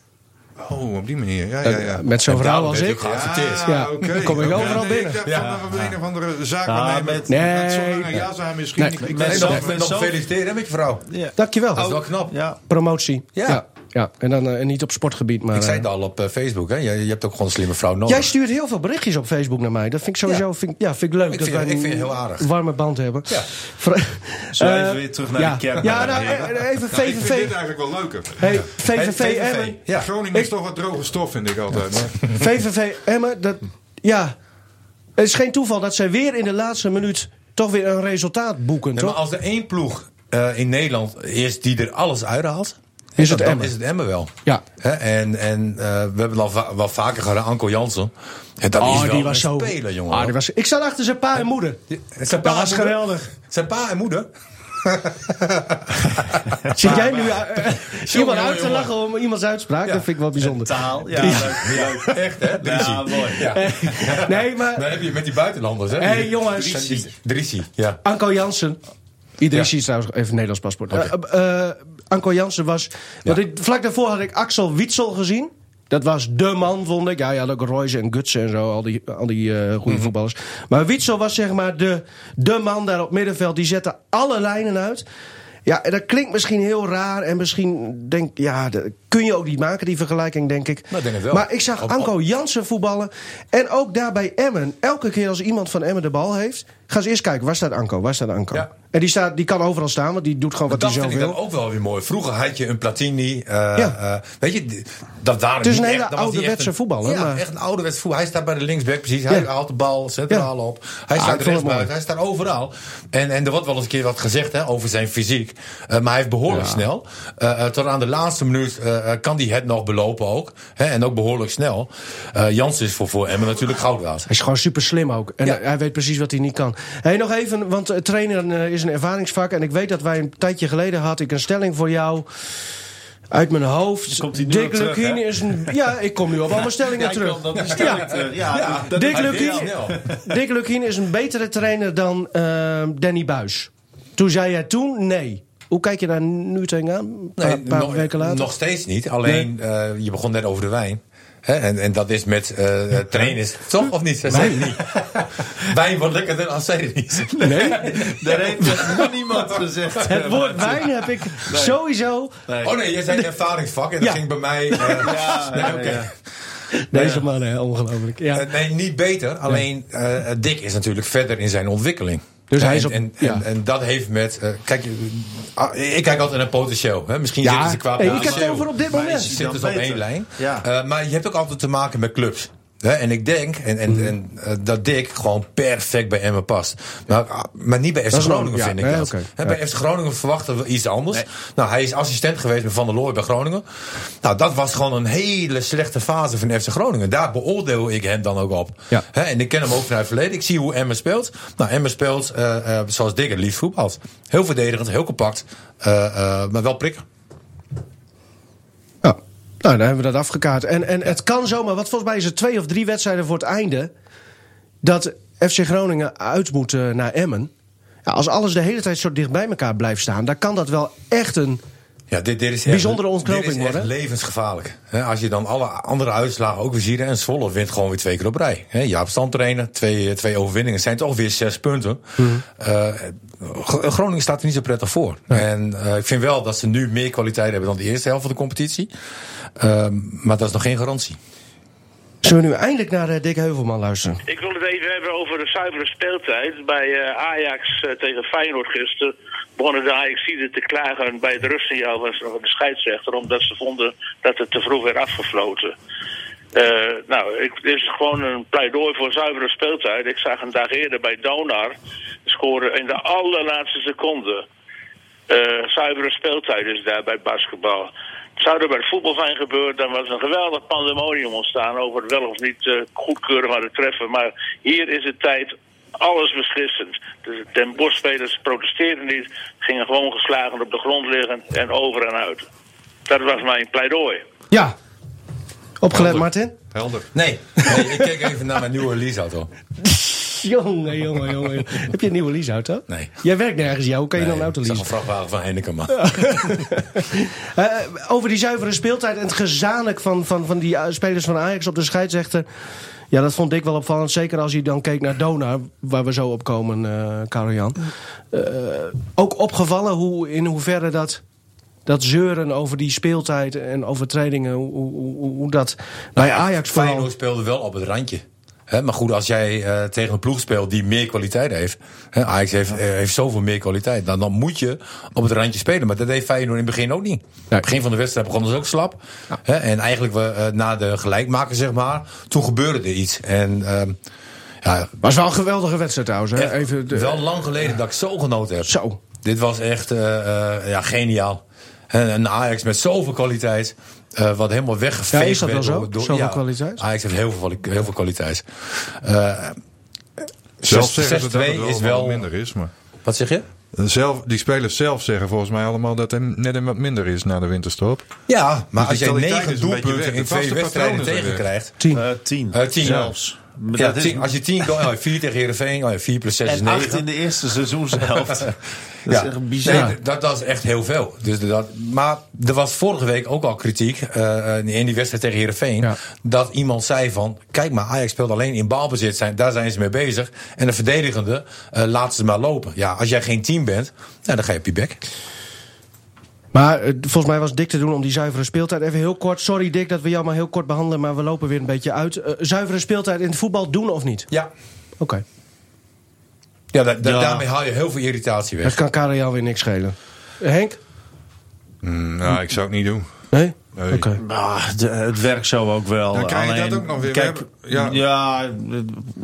[SPEAKER 6] Oh, op die manier. Ja, ja, ja.
[SPEAKER 1] Met zo'n
[SPEAKER 2] En
[SPEAKER 1] vrouw
[SPEAKER 2] daarom
[SPEAKER 1] als
[SPEAKER 2] werd
[SPEAKER 1] ik.
[SPEAKER 2] hij ook geaccepteerd.
[SPEAKER 6] Ah,
[SPEAKER 1] Ja,
[SPEAKER 6] oké,
[SPEAKER 1] dan kom ik
[SPEAKER 6] oké.
[SPEAKER 1] overal
[SPEAKER 6] Nee,
[SPEAKER 1] binnen.
[SPEAKER 6] Ik dacht
[SPEAKER 2] Ja.
[SPEAKER 6] van dat we een of andere zaakwaarnemer...
[SPEAKER 3] Ah,
[SPEAKER 6] met
[SPEAKER 3] met-
[SPEAKER 1] Nee.
[SPEAKER 6] met zo'n lange jas aan misschien.
[SPEAKER 1] Nee.
[SPEAKER 6] Ik- ik
[SPEAKER 2] Met
[SPEAKER 6] weet
[SPEAKER 2] zo-
[SPEAKER 6] het
[SPEAKER 2] met
[SPEAKER 6] niet.
[SPEAKER 2] nog
[SPEAKER 3] zo-
[SPEAKER 2] feliciteren met je vrouw.
[SPEAKER 1] Dankjewel.
[SPEAKER 2] Dat is wel knap.
[SPEAKER 3] Ja.
[SPEAKER 1] Promotie. Ja.
[SPEAKER 2] Ja.
[SPEAKER 1] ja. en, dan, eh, en niet op sportgebied. Maar,
[SPEAKER 2] Ik zei
[SPEAKER 1] eh,
[SPEAKER 2] het al op eh, Facebook, hè? Je, je hebt ook gewoon een slimme vrouw nodig.
[SPEAKER 1] Jij stuurt heel veel berichtjes op Facebook naar mij. Dat vind ik sowieso
[SPEAKER 2] Ja.
[SPEAKER 1] vind, ik- ja, vind ik leuk.
[SPEAKER 2] Ik
[SPEAKER 1] dat
[SPEAKER 2] vind-
[SPEAKER 1] wij
[SPEAKER 2] ik
[SPEAKER 1] een
[SPEAKER 2] vind het heel aardig.
[SPEAKER 1] warme band hebben.
[SPEAKER 2] Ja.
[SPEAKER 1] Vra-
[SPEAKER 3] Zo
[SPEAKER 1] Eh,
[SPEAKER 3] even weer terug naar
[SPEAKER 1] ja.
[SPEAKER 3] de kern.
[SPEAKER 1] Ja, nou, eh, even
[SPEAKER 6] Ik vind
[SPEAKER 1] VVV.
[SPEAKER 6] dit eigenlijk wel leuker.
[SPEAKER 1] Hey,
[SPEAKER 2] Hey,
[SPEAKER 1] VVV Emmen.
[SPEAKER 2] Ja.
[SPEAKER 6] Groningen is toch wat droge stof, vind ik altijd. Maar-
[SPEAKER 1] VVV Emmen. Dat, ja. Het is geen toeval dat zij weer in de laatste minuut toch weer een resultaat boeken.
[SPEAKER 2] Nee, maar
[SPEAKER 1] toch?
[SPEAKER 2] als er één ploeg eh, in Nederland is die er alles uithaalt,
[SPEAKER 1] Is het
[SPEAKER 2] dan
[SPEAKER 1] Emmen.
[SPEAKER 2] is het Emmen wel.
[SPEAKER 1] Ja.
[SPEAKER 2] Hè, en en eh, we hebben het al va- wel vaker gedaan, Anko Jansen. En dat
[SPEAKER 1] Oh,
[SPEAKER 2] is wel een speler, jongen.
[SPEAKER 1] Ah, die was... Ik zat achter zijn pa en moeder.
[SPEAKER 2] Zijn pa
[SPEAKER 1] Dat
[SPEAKER 2] en
[SPEAKER 1] was
[SPEAKER 2] moeder-
[SPEAKER 1] geweldig.
[SPEAKER 2] Zijn pa en moeder.
[SPEAKER 1] Zit jij nu eh, eh, iemand
[SPEAKER 2] jongen,
[SPEAKER 1] uit te
[SPEAKER 2] jongen.
[SPEAKER 1] lachen om iemands uitspraak?
[SPEAKER 2] Ja.
[SPEAKER 1] Dat vind ik wel bijzonder.
[SPEAKER 3] Taal. Ja, leuk.
[SPEAKER 2] Ja, echt hè? Drissi.
[SPEAKER 3] Ja, mooi.
[SPEAKER 2] Ja.
[SPEAKER 1] Nee,
[SPEAKER 2] Dan
[SPEAKER 1] maar
[SPEAKER 2] heb je met die buitenlanders hè?
[SPEAKER 1] Hey, jongens.
[SPEAKER 2] Drissi. Drissi, ja.
[SPEAKER 1] Anko Jansen. Iedereen
[SPEAKER 2] Ja.
[SPEAKER 1] ziet trouwens even een Nederlands paspoort. Eh, eh, Anko Jansen was. Want ik, vlak daarvoor had ik Axel Witsel gezien. Dat was de man, vond ik. Ja, ja, ook Royce en Gutsen en zo. Al die, al die eh, goede
[SPEAKER 2] Mhm.
[SPEAKER 1] voetballers. Maar Witsel was zeg maar de, de man daar op middenveld. Die zette alle lijnen uit. Ja, en dat klinkt misschien heel raar. En misschien denk ja, dat kun je ook niet maken, die vergelijking, denk ik.
[SPEAKER 2] Nou, ik denk het wel.
[SPEAKER 1] Maar ik zag
[SPEAKER 2] Op- op-
[SPEAKER 1] Anko Jansen voetballen. En ook daar bij Emmen. Elke keer als iemand van Emmen de bal heeft... gaan ze eerst kijken, waar staat Anko? Waar staat Anko?
[SPEAKER 2] Ja.
[SPEAKER 1] En die, staat, die kan overal staan, want die doet gewoon wat
[SPEAKER 2] dat
[SPEAKER 1] hij
[SPEAKER 2] vind
[SPEAKER 1] zelf
[SPEAKER 2] ik dan
[SPEAKER 1] wil.
[SPEAKER 2] ook wel weer mooi. Vroeger had je een Platini. eh,
[SPEAKER 1] Ja.
[SPEAKER 2] eh, weet je, d- dat waren
[SPEAKER 1] Het is
[SPEAKER 2] niet
[SPEAKER 1] een
[SPEAKER 2] echt-
[SPEAKER 1] hele
[SPEAKER 2] dat was niet
[SPEAKER 1] ouderwetse
[SPEAKER 2] echt een-
[SPEAKER 1] voetbal, hè,
[SPEAKER 2] Ja,
[SPEAKER 1] maar-
[SPEAKER 2] echt een ouderwets voetbal. Hij staat bij de linksback precies. Hij
[SPEAKER 1] Ja.
[SPEAKER 2] haalt de bal centraal
[SPEAKER 1] Ja.
[SPEAKER 2] op. Hij
[SPEAKER 1] Ah, ik vond
[SPEAKER 2] staat
[SPEAKER 1] het
[SPEAKER 2] rechtsbuiten.
[SPEAKER 1] mooi.
[SPEAKER 2] Hij staat overal. En, en er wordt wel eens een keer wat gezegd hè, over zijn fysiek. Eh, maar hij heeft behoorlijk snel. Eh, eh, tot aan de laatste minuut eh, eh, kan hij het nog belopen ook. Hè, en ook behoorlijk snel. Eh Jansen is voor, voor Emmen natuurlijk goud waard.
[SPEAKER 1] Hij is gewoon super slim ook. En
[SPEAKER 2] Ja.
[SPEAKER 1] hij weet precies wat hij niet kan. Hey, nog even, want eh, trainen eh, is een ervaringsvak. En ik weet dat wij een tijdje geleden had ik een stelling voor jou. Uit mijn hoofd.
[SPEAKER 3] komt hij nu
[SPEAKER 1] Dick
[SPEAKER 3] op terug,
[SPEAKER 1] Lukien
[SPEAKER 3] hè?
[SPEAKER 1] is een. Ja, ik kom nu op allemaal stellingen terug. Ja.
[SPEAKER 3] Ja, dat-
[SPEAKER 1] Dick
[SPEAKER 2] Hij
[SPEAKER 1] Lukien.
[SPEAKER 2] deed snel.
[SPEAKER 1] Dick Lukien is een betere trainer dan eh, Danny Buis. Toen zei jij toen nee. Hoe kijk je daar nu tegenaan? Een paar, paar
[SPEAKER 2] nog,
[SPEAKER 1] weken later.
[SPEAKER 2] nog steeds niet. Alleen, eh, je begon net over de wijn. Hè, en, en dat is met eh eh, trainers. Toch of niet? Zij zeiden het niet. wijn wordt lekkerder als zij het niet.
[SPEAKER 1] Nee?
[SPEAKER 3] Daar heeft nog niemand gezegd.
[SPEAKER 1] Het woord wijn heb ik sowieso.
[SPEAKER 2] Oh nee, jij zei een ervaringsvak. En dat
[SPEAKER 1] Ja.
[SPEAKER 2] ging bij mij... eh, nee, oké.
[SPEAKER 1] Deze man, hè, ongelooflijk. Ja.
[SPEAKER 2] Eh, nee, niet beter. Alleen, eh, eh, Dick is natuurlijk verder in zijn ontwikkeling.
[SPEAKER 1] Dus
[SPEAKER 2] En-
[SPEAKER 1] hij is op-
[SPEAKER 2] en,
[SPEAKER 1] ja.
[SPEAKER 2] en, en dat heeft met... eh, kijk, eh, ik kijk altijd naar potentieel. Hè. Misschien
[SPEAKER 1] Ja.
[SPEAKER 2] zitten ze qua
[SPEAKER 1] Hey, ik heb het
[SPEAKER 2] potentieel.
[SPEAKER 1] over op dit
[SPEAKER 2] Maar
[SPEAKER 1] moment.
[SPEAKER 2] Ze zitten
[SPEAKER 3] Dan
[SPEAKER 2] dus op één
[SPEAKER 3] beter.
[SPEAKER 2] lijn.
[SPEAKER 3] Ja.
[SPEAKER 2] Eh, maar je hebt ook altijd te maken met clubs. Hè, en ik denk en, en,
[SPEAKER 1] Mhm.
[SPEAKER 2] en, eh, dat Dick gewoon perfect bij Emmen past. Maar, maar niet bij FC
[SPEAKER 1] Dat is
[SPEAKER 2] Groningen,
[SPEAKER 1] Groningen,
[SPEAKER 2] vind
[SPEAKER 1] ja.
[SPEAKER 2] ik
[SPEAKER 1] Nee,
[SPEAKER 2] dat.
[SPEAKER 1] oké.
[SPEAKER 2] Hè, bij FC Groningen verwachten we iets anders. Nou, hij is assistent geweest met Van der Looy bij Groningen. Nou, dat was gewoon een hele slechte fase van FC Groningen. Daar beoordeel ik hem dan ook op.
[SPEAKER 1] Ja.
[SPEAKER 2] Hè, en ik ken hem ook vanuit het verleden. Ik zie hoe Emmen speelt. Nou, Emmen speelt eh, eh, zoals Dick het liefst voetbalt. Heel verdedigend, heel compact, eh, eh, maar wel prikken.
[SPEAKER 1] Ja. Nou, dan hebben we dat afgekaart. En, en het kan zomaar, want volgens mij is het twee of drie wedstrijden voor het einde. dat FC Groningen uit moet eh, naar Emmen. Ja, als alles de hele tijd zo dicht bij elkaar blijft staan, dan kan dat wel echt een.
[SPEAKER 2] Ja, dit, dit is echt,
[SPEAKER 1] Bijzondere ontknoping
[SPEAKER 2] dit is echt
[SPEAKER 1] worden.
[SPEAKER 2] levensgevaarlijk. Hè, als je dan alle andere uitslagen ook weer ziet. hè, En Zwolle wint gewoon weer twee keer op rij. Hè, Jaap Stam trainen, twee, eh, twee overwinningen. Het zijn toch weer zes punten.
[SPEAKER 1] Hmm.
[SPEAKER 2] Eh, Gro- Groningen staat er niet zo prettig voor. En eh, ik vind wel dat ze nu meer kwaliteit hebben dan de eerste helft van de competitie. Ehm, maar dat is nog geen garantie.
[SPEAKER 1] Zullen we nu eindelijk naar eh, Dick Heuvelman luisteren?
[SPEAKER 7] Ik wil het even hebben over de zuivere speeltijd. Bij eh, Ajax eh, tegen Feyenoord gisteren begonnen de Ajaxiden te klagen bij het rustsignaal van de scheidsrechter... omdat ze vonden dat het te vroeg werd afgefloten. Eh, nou, ik, dit is gewoon een pleidooi voor zuivere speeltijd. Ik zag een dag eerder bij Donar scoren in de allerlaatste seconde. Eh, zuivere speeltijd is daar bij basketbal. Zou er bij het voetbal zijn gebeurd, dan was een geweldig pandemonium ontstaan over het wel of niet eh goedkeuren van het treffen. Maar hier is de tijd alles beslissend. Dus De Den Bosch-spelers protesteerden niet, gingen gewoon geslagen op de grond liggen en over en uit. Dat was mijn pleidooi.
[SPEAKER 1] Ja. Opgelet,
[SPEAKER 6] Helder.
[SPEAKER 1] Martin?
[SPEAKER 6] Helder.
[SPEAKER 2] Nee, nee ik kijk even naar mijn nieuwe leaseauto.
[SPEAKER 1] Jongen, jongen, jongen. Heb je een nieuwe leaseauto?
[SPEAKER 2] Nee.
[SPEAKER 1] Jij werkt nergens, jou. Hoe kan je dan een auto
[SPEAKER 2] ik zag een
[SPEAKER 1] leasen?
[SPEAKER 2] vrachtwagen van Heineken, man.
[SPEAKER 1] Eh, over die zuivere speeltijd en het gezanik van, van, van die eh, spelers van Ajax op de scheidsrechter. Ja, dat vond ik wel opvallend. Zeker als je dan keek naar Donar, waar we zo op komen, eh Karel-Jan. Eh, ook opgevallen hoe, in hoeverre dat, dat zeuren over die speeltijd en overtredingen, hoe, hoe, hoe- hoe dat bij Ajax vooral...
[SPEAKER 2] Dus Feyenoord speelde wel op het randje. Hè, maar goed, als jij eh, tegen een ploeg speelt die meer kwaliteit heeft. Hè, Ajax heeft, eh, heeft zoveel meer kwaliteit. Dan, dan moet je op het randje spelen. Maar dat deed Feyenoord in het begin ook niet. In het begin van de wedstrijd begonnen ze ook slap. Hè, en eigenlijk we, eh, na de gelijkmaker, zeg maar, toen gebeurde er iets. En ehm ja,
[SPEAKER 1] Was wel een geweldige wedstrijd trouwens. Hè?
[SPEAKER 2] echt
[SPEAKER 1] Even de-
[SPEAKER 2] wel lang geleden dat ik zo genoten heb.
[SPEAKER 1] Zo.
[SPEAKER 2] Dit was echt eh, eh, ja, geniaal. En een Ajax met zoveel kwaliteit. eh, wat helemaal weggeveegd
[SPEAKER 1] Ja, is dat
[SPEAKER 2] werd
[SPEAKER 1] wel zo?
[SPEAKER 2] door- door-
[SPEAKER 1] Zoveel kwaliteit?
[SPEAKER 2] Ajax heeft heel veel, kwali- heel veel kwaliteit. Eh,
[SPEAKER 6] Zelf
[SPEAKER 2] zes-
[SPEAKER 6] zeggen ze dat
[SPEAKER 2] 6-2
[SPEAKER 6] het wel,
[SPEAKER 2] is
[SPEAKER 6] wat
[SPEAKER 2] wel-
[SPEAKER 6] minder is. Maar
[SPEAKER 2] wat zeg je?
[SPEAKER 6] zelf, die spelers zelf zeggen volgens mij allemaal dat hem net een wat minder is na de winterstop.
[SPEAKER 2] Ja, maar als
[SPEAKER 6] die
[SPEAKER 2] jij
[SPEAKER 6] kwaliteit is
[SPEAKER 2] negen
[SPEAKER 6] een beetje
[SPEAKER 2] doelpunten
[SPEAKER 6] weg.
[SPEAKER 2] in
[SPEAKER 6] De vaste
[SPEAKER 2] twee wedstrijden
[SPEAKER 6] patronen zijn
[SPEAKER 2] tegenkrijgt.
[SPEAKER 1] Tien.
[SPEAKER 3] Eh, tien.
[SPEAKER 2] Eh, tien.
[SPEAKER 3] zelfs. Maar
[SPEAKER 2] Ja,
[SPEAKER 3] dat is-
[SPEAKER 2] tien- als je 10 goal, ja, 4 tegen Heerenveen, oh ja, 4 plus 6 is
[SPEAKER 3] en
[SPEAKER 2] 9.
[SPEAKER 3] acht in de eerste seizoenshelft. dat is
[SPEAKER 2] Ja.
[SPEAKER 3] echt bizar.
[SPEAKER 2] Nee, dat, dat is echt heel veel. Dus dat, maar er was vorige week ook al kritiek eh, in die wedstrijd tegen Heerenveen.
[SPEAKER 1] Ja.
[SPEAKER 2] Dat iemand zei van, kijk maar, Ajax speelt alleen in balbezit. Zijn, daar zijn ze mee bezig. En de verdedigende eh laat ze maar lopen. Ja, als jij geen team bent, nou, dan ga je op je bek.
[SPEAKER 1] Maar eh, volgens mij was het dik te doen om die zuivere speeltijd even heel kort. Sorry Dick dat we jou maar heel kort behandelen, maar we lopen weer een beetje uit. Eh, zuivere speeltijd in het voetbal doen of niet?
[SPEAKER 2] Ja,
[SPEAKER 1] Oké.
[SPEAKER 2] ja, da- da-
[SPEAKER 3] Ja.
[SPEAKER 2] daarmee haal je heel veel irritatie
[SPEAKER 1] Dat
[SPEAKER 2] weg.
[SPEAKER 1] kan Karel jou weer niks schelen. Eh, Henk?
[SPEAKER 6] Nou, ik zou het niet doen.
[SPEAKER 1] Nee?
[SPEAKER 6] Nee.
[SPEAKER 1] Oké.
[SPEAKER 3] Maar Ah, de- het werkt zo ook wel.
[SPEAKER 6] Dan krijg je
[SPEAKER 3] Alleen,
[SPEAKER 6] dat ook nog weer. We
[SPEAKER 3] Kijk, ja,
[SPEAKER 6] hebben-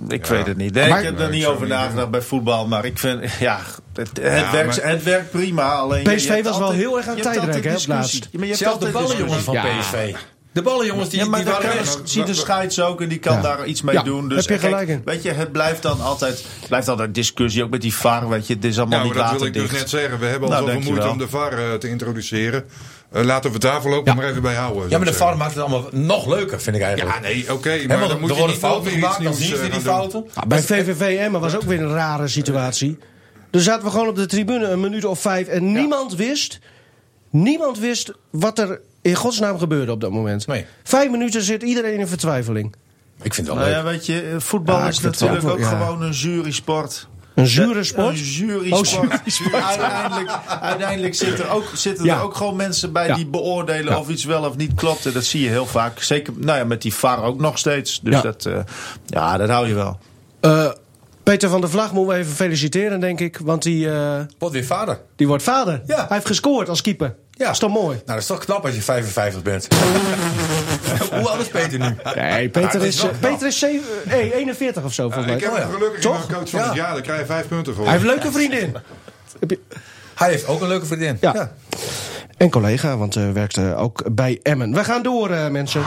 [SPEAKER 3] ik
[SPEAKER 6] Ja.
[SPEAKER 3] weet het niet. Nee,
[SPEAKER 1] Maar-
[SPEAKER 3] ik heb
[SPEAKER 6] Nee,
[SPEAKER 3] er niet
[SPEAKER 6] ik zou
[SPEAKER 3] over
[SPEAKER 6] het niet
[SPEAKER 3] nagedacht
[SPEAKER 6] doen.
[SPEAKER 3] bij voetbal. Maar ik vind, ja, het, het,
[SPEAKER 6] Ja,
[SPEAKER 3] werkt,
[SPEAKER 6] maar-
[SPEAKER 3] het werkt prima. Alleen je-
[SPEAKER 1] PSV
[SPEAKER 3] je hebt
[SPEAKER 1] was wel
[SPEAKER 3] altijd-
[SPEAKER 1] heel erg aan
[SPEAKER 3] je hebt
[SPEAKER 1] tijdrek,
[SPEAKER 3] altijd
[SPEAKER 1] hè, op
[SPEAKER 3] discussie.
[SPEAKER 1] laatst.
[SPEAKER 3] Ja, maar je hebt
[SPEAKER 2] Zelfs de
[SPEAKER 3] altijd
[SPEAKER 2] ballenjongens van
[SPEAKER 3] discussie.
[SPEAKER 2] PSV. De ballenjongens die,
[SPEAKER 3] Ja, maar
[SPEAKER 2] die
[SPEAKER 3] daar
[SPEAKER 2] waren...
[SPEAKER 3] kan,
[SPEAKER 2] echt-
[SPEAKER 3] ziet de scheids ook en die kan
[SPEAKER 1] Ja.
[SPEAKER 3] daar iets mee
[SPEAKER 1] Ja,
[SPEAKER 3] doen. Dus
[SPEAKER 1] heb je
[SPEAKER 3] kijk,
[SPEAKER 1] gelijk in.
[SPEAKER 3] Weet je, het blijft dan altijd, blijft altijd discussie. Ook met die VAR, weet je. Het is allemaal
[SPEAKER 6] Nou,
[SPEAKER 3] niet
[SPEAKER 6] dat wil
[SPEAKER 3] later
[SPEAKER 6] ik dus net zeggen. We hebben al
[SPEAKER 3] Nou,
[SPEAKER 6] zoveel moeite
[SPEAKER 3] dankjewel.
[SPEAKER 6] om de VAR eh, te introduceren. Eh, laten we het daar voorlopig maar even bij houden.
[SPEAKER 2] Ja, maar de
[SPEAKER 6] zou ik
[SPEAKER 2] VAR maakt het allemaal nog leuker, vind ik eigenlijk.
[SPEAKER 6] zeggen. Ja, nee, oké.
[SPEAKER 2] Hè,
[SPEAKER 6] maar
[SPEAKER 2] want
[SPEAKER 6] dan moet
[SPEAKER 2] er
[SPEAKER 6] je
[SPEAKER 2] worden
[SPEAKER 6] niet nog
[SPEAKER 2] fouten
[SPEAKER 6] weer iets
[SPEAKER 2] gemaakt, dan
[SPEAKER 6] nieuws,
[SPEAKER 2] zien
[SPEAKER 6] eh,
[SPEAKER 2] ze die
[SPEAKER 6] gaan doen.
[SPEAKER 2] fouten.
[SPEAKER 1] Ah, Bij VVV Emmen was ook weer een rare situatie. Er zaten we gewoon op de tribune een minuut of vijf en niemand wist... Niemand wist wat er in godsnaam gebeurde op dat moment.
[SPEAKER 2] Nee.
[SPEAKER 1] Vijf minuten zit iedereen in vertwijfeling.
[SPEAKER 2] Ik vind het wel
[SPEAKER 3] Nou
[SPEAKER 2] leuk.
[SPEAKER 3] ja, weet je, voetbal
[SPEAKER 1] Ja, ik
[SPEAKER 3] is
[SPEAKER 1] vind het ook
[SPEAKER 3] natuurlijk ook
[SPEAKER 1] wel- ja.
[SPEAKER 3] gewoon een jury-sport.
[SPEAKER 1] Een zure sport.
[SPEAKER 3] Een
[SPEAKER 1] Oh,
[SPEAKER 3] jury-sport.
[SPEAKER 1] jurysport.
[SPEAKER 3] uiteindelijk uiteindelijk zitten er ook, zitten
[SPEAKER 1] Ja.
[SPEAKER 3] er ook gewoon mensen bij
[SPEAKER 1] Ja.
[SPEAKER 3] die beoordelen of iets wel of niet klopt. En dat zie je heel vaak. Zeker nou ja, met die VAR ook nog steeds. Dus
[SPEAKER 1] Ja.
[SPEAKER 3] Dat, eh, ja, dat hou je wel.
[SPEAKER 1] Eh, Peter van der Vlag moeten we even feliciteren, denk ik. Want die, eh,
[SPEAKER 2] Wordt weer vader.
[SPEAKER 1] die wordt vader.
[SPEAKER 2] Ja.
[SPEAKER 1] Hij heeft gescoord als keeper.
[SPEAKER 2] Ja.
[SPEAKER 1] Is toch mooi?
[SPEAKER 2] Nou, dat is toch knap als je 55 bent. Hoe oud is Peter nu?
[SPEAKER 1] Nee, Peter
[SPEAKER 2] Nou, dat is
[SPEAKER 1] is,
[SPEAKER 2] wel
[SPEAKER 1] eh,
[SPEAKER 2] knap.
[SPEAKER 1] Peter is zeven- nee, 41 of zo, volgens
[SPEAKER 6] Ik
[SPEAKER 1] mij.
[SPEAKER 6] heb
[SPEAKER 2] Oh ja.
[SPEAKER 6] hem gelukkig
[SPEAKER 1] Toch?
[SPEAKER 6] in mijn coach van
[SPEAKER 2] Ja.
[SPEAKER 6] het jaar. Daar krijg je vijf punten voor.
[SPEAKER 1] Hij heeft een leuke vriendin. Heb je-
[SPEAKER 2] Hij heeft ook een leuke vriendin.
[SPEAKER 1] Ja. En collega, want eh werkte ook bij Emmen. We gaan door, eh, mensen.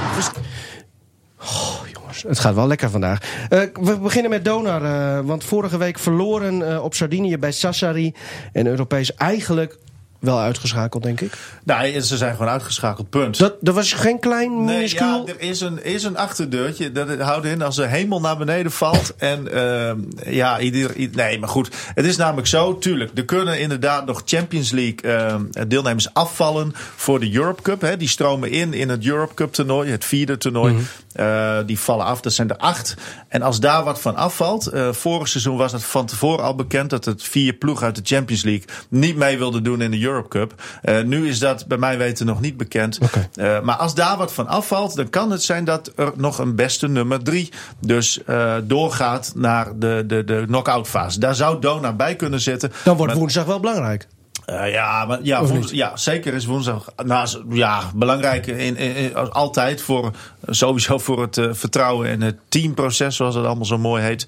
[SPEAKER 1] Oh, jongens, het gaat wel lekker vandaag. Eh, we beginnen met Donar, eh, want vorige week verloren eh, op Sardinië bij Sassari. En Europees eigenlijk wel uitgeschakeld, denk ik.
[SPEAKER 3] Nou, ze zijn gewoon uitgeschakeld, punt.
[SPEAKER 1] Dat, er was geen klein,
[SPEAKER 3] Nee,
[SPEAKER 1] minuscuul...
[SPEAKER 3] ja, er is een, is een achterdeurtje. Dat het- houdt in als de hemel naar beneden valt. En ehm, ja, ieder, i- nee, maar goed. Het is namelijk zo, tuurlijk. Er kunnen inderdaad nog Champions League ehm, deelnemers afvallen voor de Europe Cup. Hè. Die stromen in in het Europe Cup toernooi, het vierde toernooi. Eh, die vallen af, dat zijn er acht. En als daar wat van afvalt. eh, vorig seizoen was het van tevoren al bekend dat het vier ploeg uit de Champions League niet mee wilden doen in de Europe Cup. Eh, nu is dat bij mij weten nog niet bekend. Eh, maar als daar wat van afvalt, dan kan het zijn dat er nog een beste nummer drie dus eh, doorgaat naar de, de, de knock-out fase. Daar zou Dona bij kunnen zitten.
[SPEAKER 1] Dan wordt
[SPEAKER 3] Maar-
[SPEAKER 1] woensdag wel belangrijk.
[SPEAKER 3] eh, ja, maar, ja, woens- ja, zeker is woensdag nou, is- ja, belangrijk. In, in- in- als altijd voor, sowieso voor het eh, vertrouwen en het teamproces, zoals het allemaal zo mooi heet.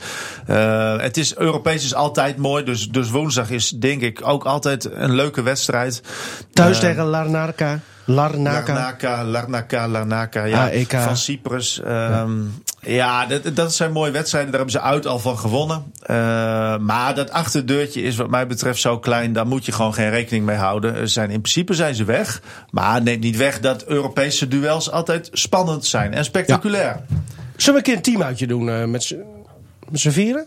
[SPEAKER 3] Eh, het is, Europees is altijd mooi, dus, dus woensdag is denk ik ook altijd een leuke wedstrijd. Eh,
[SPEAKER 1] Thuis tegen Larnaca. Larnaca.
[SPEAKER 3] Larnaca, Larnaca, Larnaca. Ja,
[SPEAKER 1] AEK.
[SPEAKER 3] Van Cyprus. ehm, ja, dat, dat zijn mooie wedstrijden. Daar hebben ze uit al van gewonnen. Eh, maar dat achterdeurtje is wat mij betreft zo klein. Daar moet je gewoon geen rekening mee houden. Er Zijn, in principe zijn ze weg. Maar neemt niet weg dat Europese duels altijd spannend zijn. En spectaculair.
[SPEAKER 1] Zullen we een keer een teamuitje doen eh, met z'n- met z'n vieren?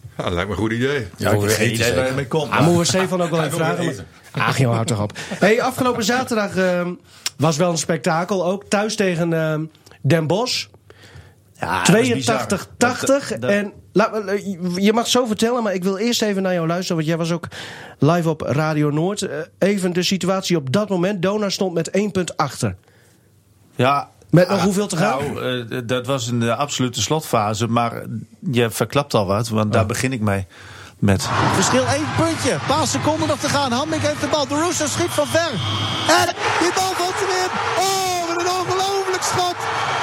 [SPEAKER 6] Ja, dat Ah, lijkt me een goed idee.
[SPEAKER 2] Ja, ik
[SPEAKER 3] heb
[SPEAKER 2] weet
[SPEAKER 3] geen
[SPEAKER 2] het
[SPEAKER 3] idee waar
[SPEAKER 2] zeker.
[SPEAKER 3] je mee komt.
[SPEAKER 1] Ah, moeten we Stefan ook wel even
[SPEAKER 2] wil weer
[SPEAKER 1] vragen. maar-
[SPEAKER 2] eten.
[SPEAKER 1] Ach joh, houd toch op. Hey, afgelopen zaterdag ehm, was wel een spektakel ook. Thuis tegen ehm, Den Bosch.
[SPEAKER 3] Ja, Ah, dat is bizar.
[SPEAKER 1] 82,
[SPEAKER 3] Dat-
[SPEAKER 1] 80.
[SPEAKER 3] dat-
[SPEAKER 1] En laat me- eh, je mag zo vertellen, maar ik wil eerst even naar jou luisteren. Want jij was ook live op Radio Noord. Eh, Even de situatie op dat moment. Dona stond met 1 punt achter.
[SPEAKER 3] Ja.
[SPEAKER 1] Met nog hoeveel te gaan?
[SPEAKER 3] Nou, eh, dat was een eh, absolute slotfase. Maar je verklapt al wat, want
[SPEAKER 1] Oh.
[SPEAKER 3] daar begin ik mee. Met.
[SPEAKER 8] Verschil één puntje. Een paar seconden nog te gaan. Hamming heeft de bal. De Russo schiet van ver. En die bal valt hem in. Oh, wat een ongelooflijk schot.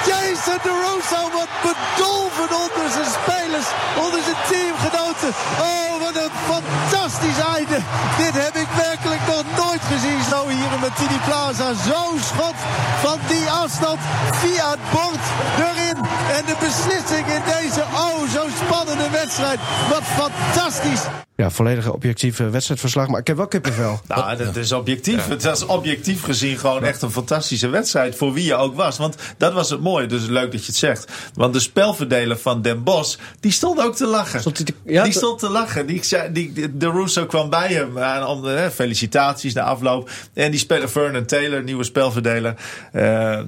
[SPEAKER 8] Jason de Russo wordt bedolven onder zijn spelers. Onder zijn teamgenoten. Oh, wat een fantastisch einde. Dit heb ik werkelijk nog nooit gezien. Zo hier in Martini Plaza. Zo'n schot van die afstand. Via het bord erin. En de beslissing in deze oh zo spannende wedstrijd. Wat fantastisch.
[SPEAKER 1] Ja, volledig objectief eh, wedstrijdverslag. Maar ik heb wel kippenvel.
[SPEAKER 3] Nou, dat is objectief. Het was objectief gezien gewoon echt een fantastische wedstrijd. Voor wie je ook was. Want dat was het mooie. Dus leuk dat je het zegt. Want de spelverdeler van Den Bos, die stond ook te lachen.
[SPEAKER 1] Stond hij te- ja,
[SPEAKER 3] die
[SPEAKER 1] te-
[SPEAKER 3] stond te lachen. Die, zei- die, de Russo kwam bij hem. Aan, om, de- hè, felicitaties na afloop. En die speler Vernon Taylor, nieuwe spelverdeler. eh,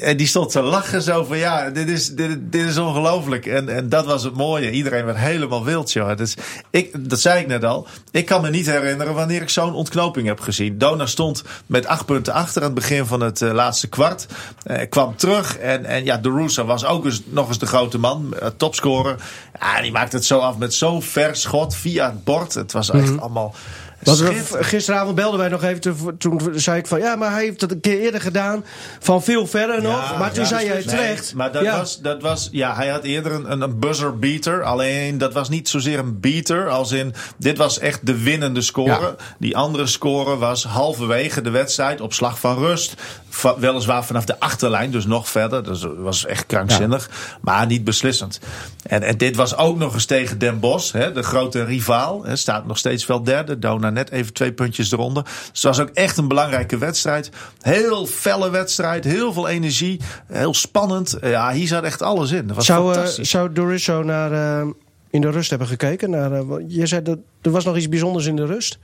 [SPEAKER 3] en die stond te lachen zo van ja, dit is, dit, dit is ongelooflijk. En, en dat was het mooie. Iedereen werd helemaal wild, joh. Dus ik, dat zei ik net al. Ik kan me niet herinneren wanneer ik zo'n ontknoping heb gezien. Dona stond met acht punten achter aan het begin van het eh, laatste kwart. Eh, kwam terug en, en ja, de Russo was ook eens, nog eens de grote man. eh, topscorer. Ja, die maakte het zo af met zo'n ver schot via het bord. Het was echt allemaal...
[SPEAKER 1] Want we-
[SPEAKER 3] schitterend.
[SPEAKER 1] gisteravond belden wij nog even. te- Toen zei ik van ja, maar hij heeft het een keer eerder gedaan. Van veel verder nog.
[SPEAKER 3] Ja,
[SPEAKER 1] Maar toen
[SPEAKER 3] ja. dus
[SPEAKER 1] zei jij
[SPEAKER 3] Nee,
[SPEAKER 1] terecht.
[SPEAKER 3] maar dat,
[SPEAKER 1] ja.
[SPEAKER 3] was, dat was. Ja, hij had eerder een, een- een buzzer beater. Alleen dat was niet zozeer een beater. Als in. Dit was echt de winnende score. Die andere score was halverwege de wedstrijd op slag van rust. Va- weliswaar vanaf de achterlijn, dus nog verder. Dus Dat was echt krankzinnig. Maar niet beslissend. En, en dit was ook nog eens tegen Den Bosch, hè, de grote rivaal. Hè, staat nog steeds wel derde. Dona net even twee puntjes eronder. Dus het was ook echt een belangrijke wedstrijd. Heel felle wedstrijd, heel veel energie, heel spannend. Ja, hier zat echt alles in. Dat was
[SPEAKER 1] Zou, eh,
[SPEAKER 3] fantastisch.
[SPEAKER 1] zou Dorisso naar, eh, in de rust hebben gekeken? Naar, eh, wat- je zei dat er was nog iets bijzonders in de rust.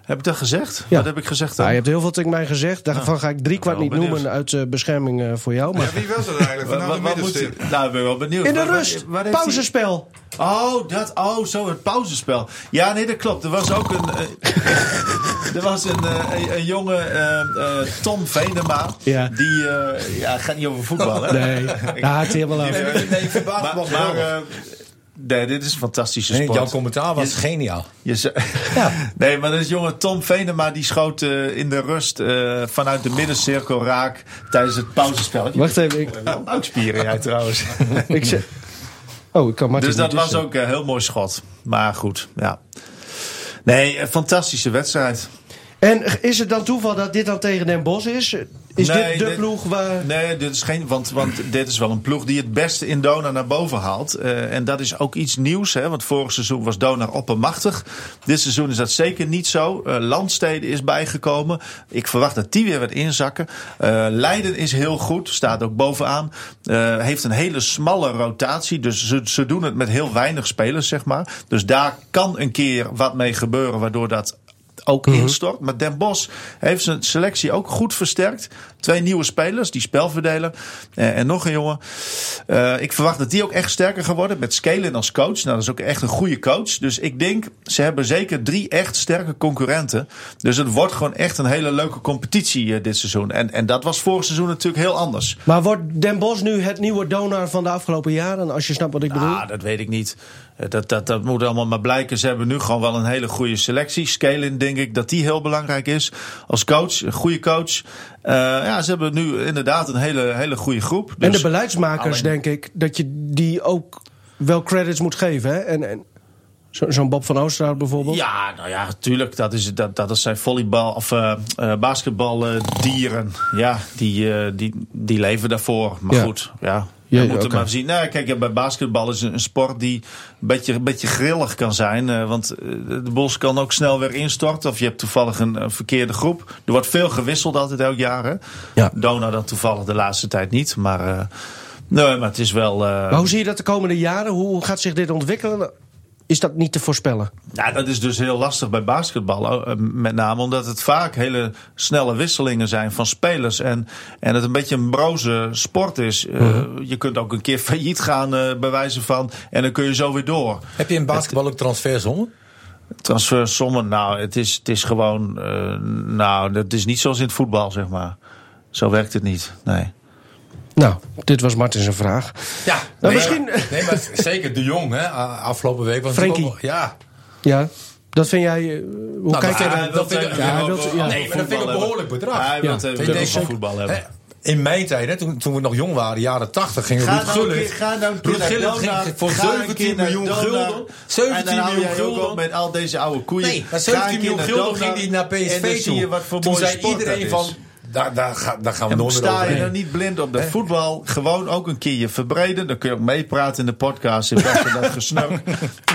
[SPEAKER 3] heb ik dat gezegd?
[SPEAKER 1] Ja.
[SPEAKER 3] Wat heb ik gezegd dan?
[SPEAKER 1] Nou, je hebt heel veel tegen mij gezegd. Daarvan ga ik drie kwart
[SPEAKER 3] wel
[SPEAKER 1] niet
[SPEAKER 3] benieuwd.
[SPEAKER 1] noemen uit eh, bescherming eh, voor jou.
[SPEAKER 6] Ja,
[SPEAKER 1] Maar
[SPEAKER 6] wie was dat eigenlijk?
[SPEAKER 3] Wat-
[SPEAKER 6] Vanaf
[SPEAKER 3] wat-
[SPEAKER 6] de
[SPEAKER 3] wat moet
[SPEAKER 6] middenstip.
[SPEAKER 3] hij- nou, ik ben wel benieuwd.
[SPEAKER 1] in de
[SPEAKER 3] Wat- wat-
[SPEAKER 1] rust.
[SPEAKER 3] wat heeft hij-
[SPEAKER 1] Pauzespel.
[SPEAKER 3] Oh, dat, oh, zo, het pauzespel. Ja, nee, dat klopt. Er was ook een. eh, er was een, eh, een, een jonge eh, eh, Tom Venema.
[SPEAKER 1] Ja.
[SPEAKER 3] Die. eh ja, het gaat niet over voetbal, hè?
[SPEAKER 1] Nee, daar haakt hij helemaal af.
[SPEAKER 3] Nee,
[SPEAKER 2] Nee, ik verbaas me
[SPEAKER 3] maar,
[SPEAKER 2] wel
[SPEAKER 3] maar,
[SPEAKER 2] geweldig.
[SPEAKER 3] eh, Nee, dit is een fantastische
[SPEAKER 2] Nee,
[SPEAKER 3] sport.
[SPEAKER 2] jouw commentaar was
[SPEAKER 3] Je-
[SPEAKER 2] geniaal.
[SPEAKER 3] Je ze- Nee, maar dat is jongen Tom Venema die schoot eh, in de rust eh, vanuit de middencirkel raak tijdens het pauzespel.
[SPEAKER 1] Wacht even, ik,
[SPEAKER 3] Ah, Buikspieren jij trouwens.
[SPEAKER 1] ik zeg... Oh, ik kan Martin
[SPEAKER 3] dus dat
[SPEAKER 1] niet
[SPEAKER 3] was
[SPEAKER 1] tussen.
[SPEAKER 3] ook een heel mooi schot. Maar goed, ja. Nee, een fantastische wedstrijd.
[SPEAKER 1] En is het dan toeval dat dit dan tegen Den Bosch is? Is
[SPEAKER 3] Nee,
[SPEAKER 1] dit de
[SPEAKER 3] dit-
[SPEAKER 1] ploeg waar...
[SPEAKER 3] Nee, dit is geen, want, want dit is wel een ploeg die het beste in Donar naar boven haalt. Eh, en dat is ook iets nieuws, hè, want vorig seizoen was Donar oppermachtig. Dit seizoen is dat zeker niet zo. Eh, Landstede is bijgekomen. Ik verwacht dat die weer wat inzakken. Eh, Leiden is heel goed, staat ook bovenaan. Eh, heeft een hele smalle rotatie, dus ze, ze doen het met heel weinig spelers, zeg maar. Dus daar kan een keer wat mee gebeuren, waardoor dat ook instort. Maar Den Bos heeft zijn selectie ook goed versterkt. Twee nieuwe spelers, die spelverdeler eh, en nog een jongen. Eh, ik verwacht dat die ook echt sterker gaan worden met Scalen als coach. Nou, dat is ook echt een goede coach. Dus ik denk, ze hebben zeker drie echt sterke concurrenten. Dus het wordt gewoon echt een hele leuke competitie eh, dit seizoen. En, en dat was vorig seizoen natuurlijk heel anders.
[SPEAKER 1] Maar wordt Den Bosch nu het nieuwe donar van de afgelopen jaren? Als je snapt wat ik bedoel.
[SPEAKER 3] Ah, dat weet ik niet. Eh, Dat, dat, dat moet allemaal maar blijken. Ze hebben nu gewoon wel een hele goede selectie. Scalen denk ik dat die heel belangrijk is. Als coach, een goede coach. Eh, ja, ze hebben nu inderdaad een hele, hele goede groep.
[SPEAKER 1] en de
[SPEAKER 3] Dus-
[SPEAKER 1] beleidsmakers,
[SPEAKER 3] alleen-
[SPEAKER 1] denk ik, dat je die ook wel credits moet geven. Hè? En, en zo- zo'n Bob van Oosterhout bijvoorbeeld.
[SPEAKER 3] Ja, nou ja, tuurlijk. Dat, is, dat, dat zijn volleybal of eh basketbaldieren. ja, die, eh, die, die leven daarvoor. Maar
[SPEAKER 1] Ja.
[SPEAKER 3] goed, ja.
[SPEAKER 1] Ja,
[SPEAKER 3] we moeten
[SPEAKER 1] oké.
[SPEAKER 3] maar zien. Nou, kijk, ja, bij basketbal is een een sport die een beetje, een beetje grillig kan zijn. eh, want eh, de bos kan ook snel weer instorten. Of je hebt toevallig een, een verkeerde groep. Er wordt veel gewisseld altijd elk jaar. Hè?
[SPEAKER 2] Ja.
[SPEAKER 3] Dona dan toevallig de laatste tijd niet. Maar, eh, nee, maar het is wel... eh,
[SPEAKER 1] Maar hoe zie je dat de komende jaren? Hoe gaat zich dit ontwikkelen? Is dat niet te voorspellen?
[SPEAKER 3] Ja, dat is dus heel lastig bij basketbal. eh, Met name omdat het vaak hele snelle wisselingen zijn van spelers. En, en het een beetje een broze sport is. Eh, Je kunt ook een keer failliet gaan, eh, bij wijze van. En dan kun je zo weer door.
[SPEAKER 2] Heb je in basketbal ook transfersommen?
[SPEAKER 3] Transfersommen, nou, het is, het is gewoon. eh, nou, dat is niet zoals in het voetbal, zeg maar. Zo werkt het niet. Nee.
[SPEAKER 1] Nou, dit was Martin zijn vraag.
[SPEAKER 2] Ja,
[SPEAKER 1] Nou,
[SPEAKER 2] nee,
[SPEAKER 1] misschien-
[SPEAKER 2] maar- Nee, maar zeker de Jong, hè? a- Afgelopen week was
[SPEAKER 1] Frenkie.
[SPEAKER 2] natuurlijk ook wel- Ja.
[SPEAKER 1] Ja, dat vind jij. eh, Hoe
[SPEAKER 3] Nou,
[SPEAKER 1] kijk jij
[SPEAKER 2] Nou, maar-
[SPEAKER 1] daar?
[SPEAKER 2] dat vind ik-
[SPEAKER 1] ja, hij wil- ja.
[SPEAKER 2] Nee, maar dat vind ik een behoorlijk bedrag.
[SPEAKER 3] Hij wil
[SPEAKER 1] Ja.
[SPEAKER 3] het
[SPEAKER 2] Ik
[SPEAKER 3] even
[SPEAKER 2] denk
[SPEAKER 3] over
[SPEAKER 2] ook,
[SPEAKER 3] voetbal hebben.
[SPEAKER 2] hè, In mijn tijd, hè, toen, toen we nog jong waren, jaren 80, ging
[SPEAKER 3] Ga
[SPEAKER 2] Ruud
[SPEAKER 3] nou een
[SPEAKER 2] Gullit.
[SPEAKER 3] keer- ga nou een keer
[SPEAKER 2] Ruud
[SPEAKER 3] naar
[SPEAKER 2] Gullit
[SPEAKER 3] Donau,
[SPEAKER 2] ging voor
[SPEAKER 3] ga een
[SPEAKER 2] 17
[SPEAKER 3] keer naar
[SPEAKER 2] miljoen
[SPEAKER 3] Donau.
[SPEAKER 2] gulden.
[SPEAKER 3] En dan
[SPEAKER 2] 17
[SPEAKER 3] hou
[SPEAKER 2] miljoen
[SPEAKER 3] jij ook op
[SPEAKER 2] gulden.
[SPEAKER 3] met al deze oude koeien.
[SPEAKER 2] Nee, maar
[SPEAKER 3] Ga een
[SPEAKER 2] 17
[SPEAKER 3] keer
[SPEAKER 2] miljoen
[SPEAKER 3] naar
[SPEAKER 2] gulden
[SPEAKER 3] Donau
[SPEAKER 2] ging hij naar
[SPEAKER 3] en dan
[SPEAKER 2] PSV
[SPEAKER 3] zie
[SPEAKER 2] toe.
[SPEAKER 3] je wat voor
[SPEAKER 2] Toen
[SPEAKER 3] mooie
[SPEAKER 2] zei
[SPEAKER 3] sport dat
[SPEAKER 2] iedereen
[SPEAKER 3] is.
[SPEAKER 2] van, daar, daar, ga- daar gaan we
[SPEAKER 3] En
[SPEAKER 2] nooit meer
[SPEAKER 3] sta je
[SPEAKER 2] overheen.
[SPEAKER 3] nou niet blind op dat voetbal? Gewoon ook een keer je verbreden. Dan kun je ook meepraten in de podcast in plaats van dat gesnurk.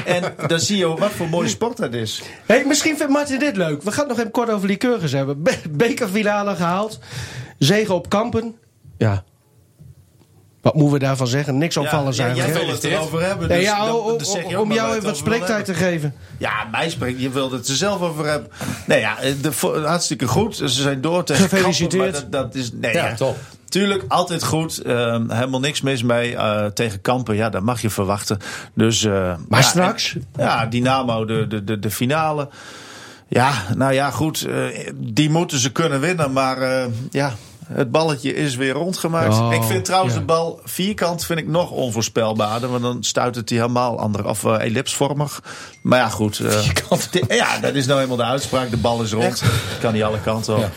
[SPEAKER 3] En dan zie je wat voor mooie sport dat is.
[SPEAKER 1] Hey, misschien vindt Martin dit leuk. We gaan het nog even kort over Lycurgus hebben. Be- bekerfinale gehaald. Zegen op Kampen. Ja. Wat moeten we daarvan zeggen? Niks opvallends
[SPEAKER 3] ja, jij
[SPEAKER 1] eigenlijk.
[SPEAKER 3] wil het erover hebben.
[SPEAKER 1] hè?
[SPEAKER 3] Dus
[SPEAKER 1] Nee, ja,
[SPEAKER 3] dan-
[SPEAKER 1] o- o-
[SPEAKER 3] dan zeg je ook
[SPEAKER 1] om
[SPEAKER 3] maar
[SPEAKER 1] jou
[SPEAKER 3] waar je
[SPEAKER 1] even wat
[SPEAKER 3] het over wil
[SPEAKER 1] spreektijd te geven.
[SPEAKER 3] hebben. Ja, mij spreekt. Je wilt het er zelf over hebben. Nou ja, de, vo- hartstikke goed. Ze zijn door tegen Kampen,
[SPEAKER 1] Gefeliciteerd.
[SPEAKER 3] maar dat, dat is, nee,
[SPEAKER 2] Ja,
[SPEAKER 3] ja.
[SPEAKER 2] top.
[SPEAKER 3] Tuurlijk, altijd goed. Eh, helemaal niks mis mee. Eh, tegen Kampen, ja, dat mag je verwachten. Dus, eh, ja,
[SPEAKER 1] straks?
[SPEAKER 3] en- ja, Dynamo, de, de, de, de finale. Ja, nou ja, goed. eh, die moeten ze kunnen winnen. Maar eh, ja, het balletje is weer rondgemaakt.
[SPEAKER 1] Oh,
[SPEAKER 3] ik vind trouwens
[SPEAKER 1] ja.
[SPEAKER 3] de bal vierkant vind ik nog onvoorspelbaarder. Want dan stuit het die helemaal ander. Of eh, ellipsvormig. Maar ja, goed. eh, di- ja, dat is nou eenmaal de uitspraak. De bal is rond. Kan die alle kanten op.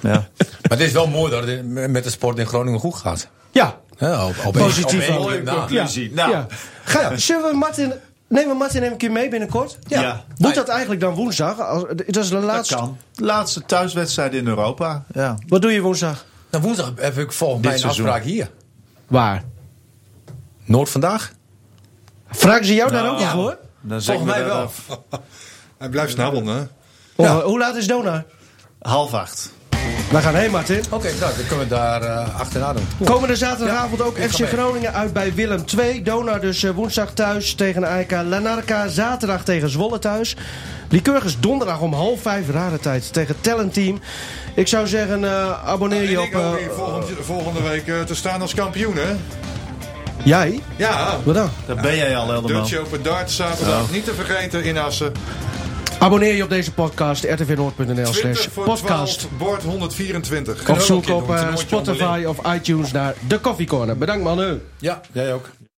[SPEAKER 3] ja.
[SPEAKER 2] Maar het is wel mooi dat het met de sport in Groningen goed gaat.
[SPEAKER 1] Ja,
[SPEAKER 2] Hè, op, op
[SPEAKER 1] Positief
[SPEAKER 2] Op
[SPEAKER 1] ook.
[SPEAKER 2] één- na.
[SPEAKER 3] Ja. Conclusie. Nou.
[SPEAKER 1] ja. Ga, Zullen we Martin... Nemen we Martin even een keer mee binnenkort?
[SPEAKER 3] Ja.
[SPEAKER 1] Moet dat eigenlijk dan woensdag? Als- Dat is de
[SPEAKER 3] Dat
[SPEAKER 1] laatste.
[SPEAKER 3] kan. Laatste thuiswedstrijd in Europa. Ja.
[SPEAKER 1] Wat doe je woensdag?
[SPEAKER 2] Nou, woensdag heb ik volgens
[SPEAKER 3] Dit
[SPEAKER 2] mij een
[SPEAKER 3] seizoen.
[SPEAKER 2] afspraak hier.
[SPEAKER 1] Waar?
[SPEAKER 2] Noord vandaag?
[SPEAKER 1] Vragen ze jou daar
[SPEAKER 3] Nou,
[SPEAKER 1] ook nog voor?
[SPEAKER 3] Dan zeg ik
[SPEAKER 2] Volgens
[SPEAKER 3] me
[SPEAKER 2] mij
[SPEAKER 3] daar
[SPEAKER 2] wel.
[SPEAKER 3] af.
[SPEAKER 6] Hij blijft snabbelen, hè?
[SPEAKER 1] Of, eh, Hoe laat is Dona?
[SPEAKER 3] Half acht.
[SPEAKER 1] We gaan heen, Martin.
[SPEAKER 2] Oké, nou, dan kunnen we daar eh, achterna doen.
[SPEAKER 1] Komende zaterdagavond ook
[SPEAKER 2] ik ga
[SPEAKER 1] FC
[SPEAKER 2] mee.
[SPEAKER 1] Groningen uit bij Willem II. Donar dus eh, woensdag thuis tegen AEK Lanarka. Zaterdag tegen Zwolle thuis. Lycurgus donderdag om half vijf, rare tijd, tegen Talent Team. Ik zou zeggen, eh, abonneer je
[SPEAKER 6] En
[SPEAKER 1] op...
[SPEAKER 6] ik hoop
[SPEAKER 1] eh,
[SPEAKER 6] hier volgende, volgende week eh, te staan als kampioen, hè?
[SPEAKER 1] jij?
[SPEAKER 6] Ja,
[SPEAKER 1] Wat dan?
[SPEAKER 3] Daar ben jij al helemaal.
[SPEAKER 6] Dutch Open Darts zaterdag. Niet te vergeten in Assen.
[SPEAKER 1] Abonneer je op deze podcast, rtvnoord.nl
[SPEAKER 6] 20
[SPEAKER 1] slash
[SPEAKER 6] voor
[SPEAKER 1] podcast.
[SPEAKER 6] 12, bord 124.
[SPEAKER 1] Of zoek
[SPEAKER 2] keer
[SPEAKER 1] op
[SPEAKER 2] doen,
[SPEAKER 1] eh,
[SPEAKER 2] toernooitje
[SPEAKER 1] Spotify of iTunes naar de Coffee Corner. Bedankt mannen.
[SPEAKER 2] Ja, jij ook.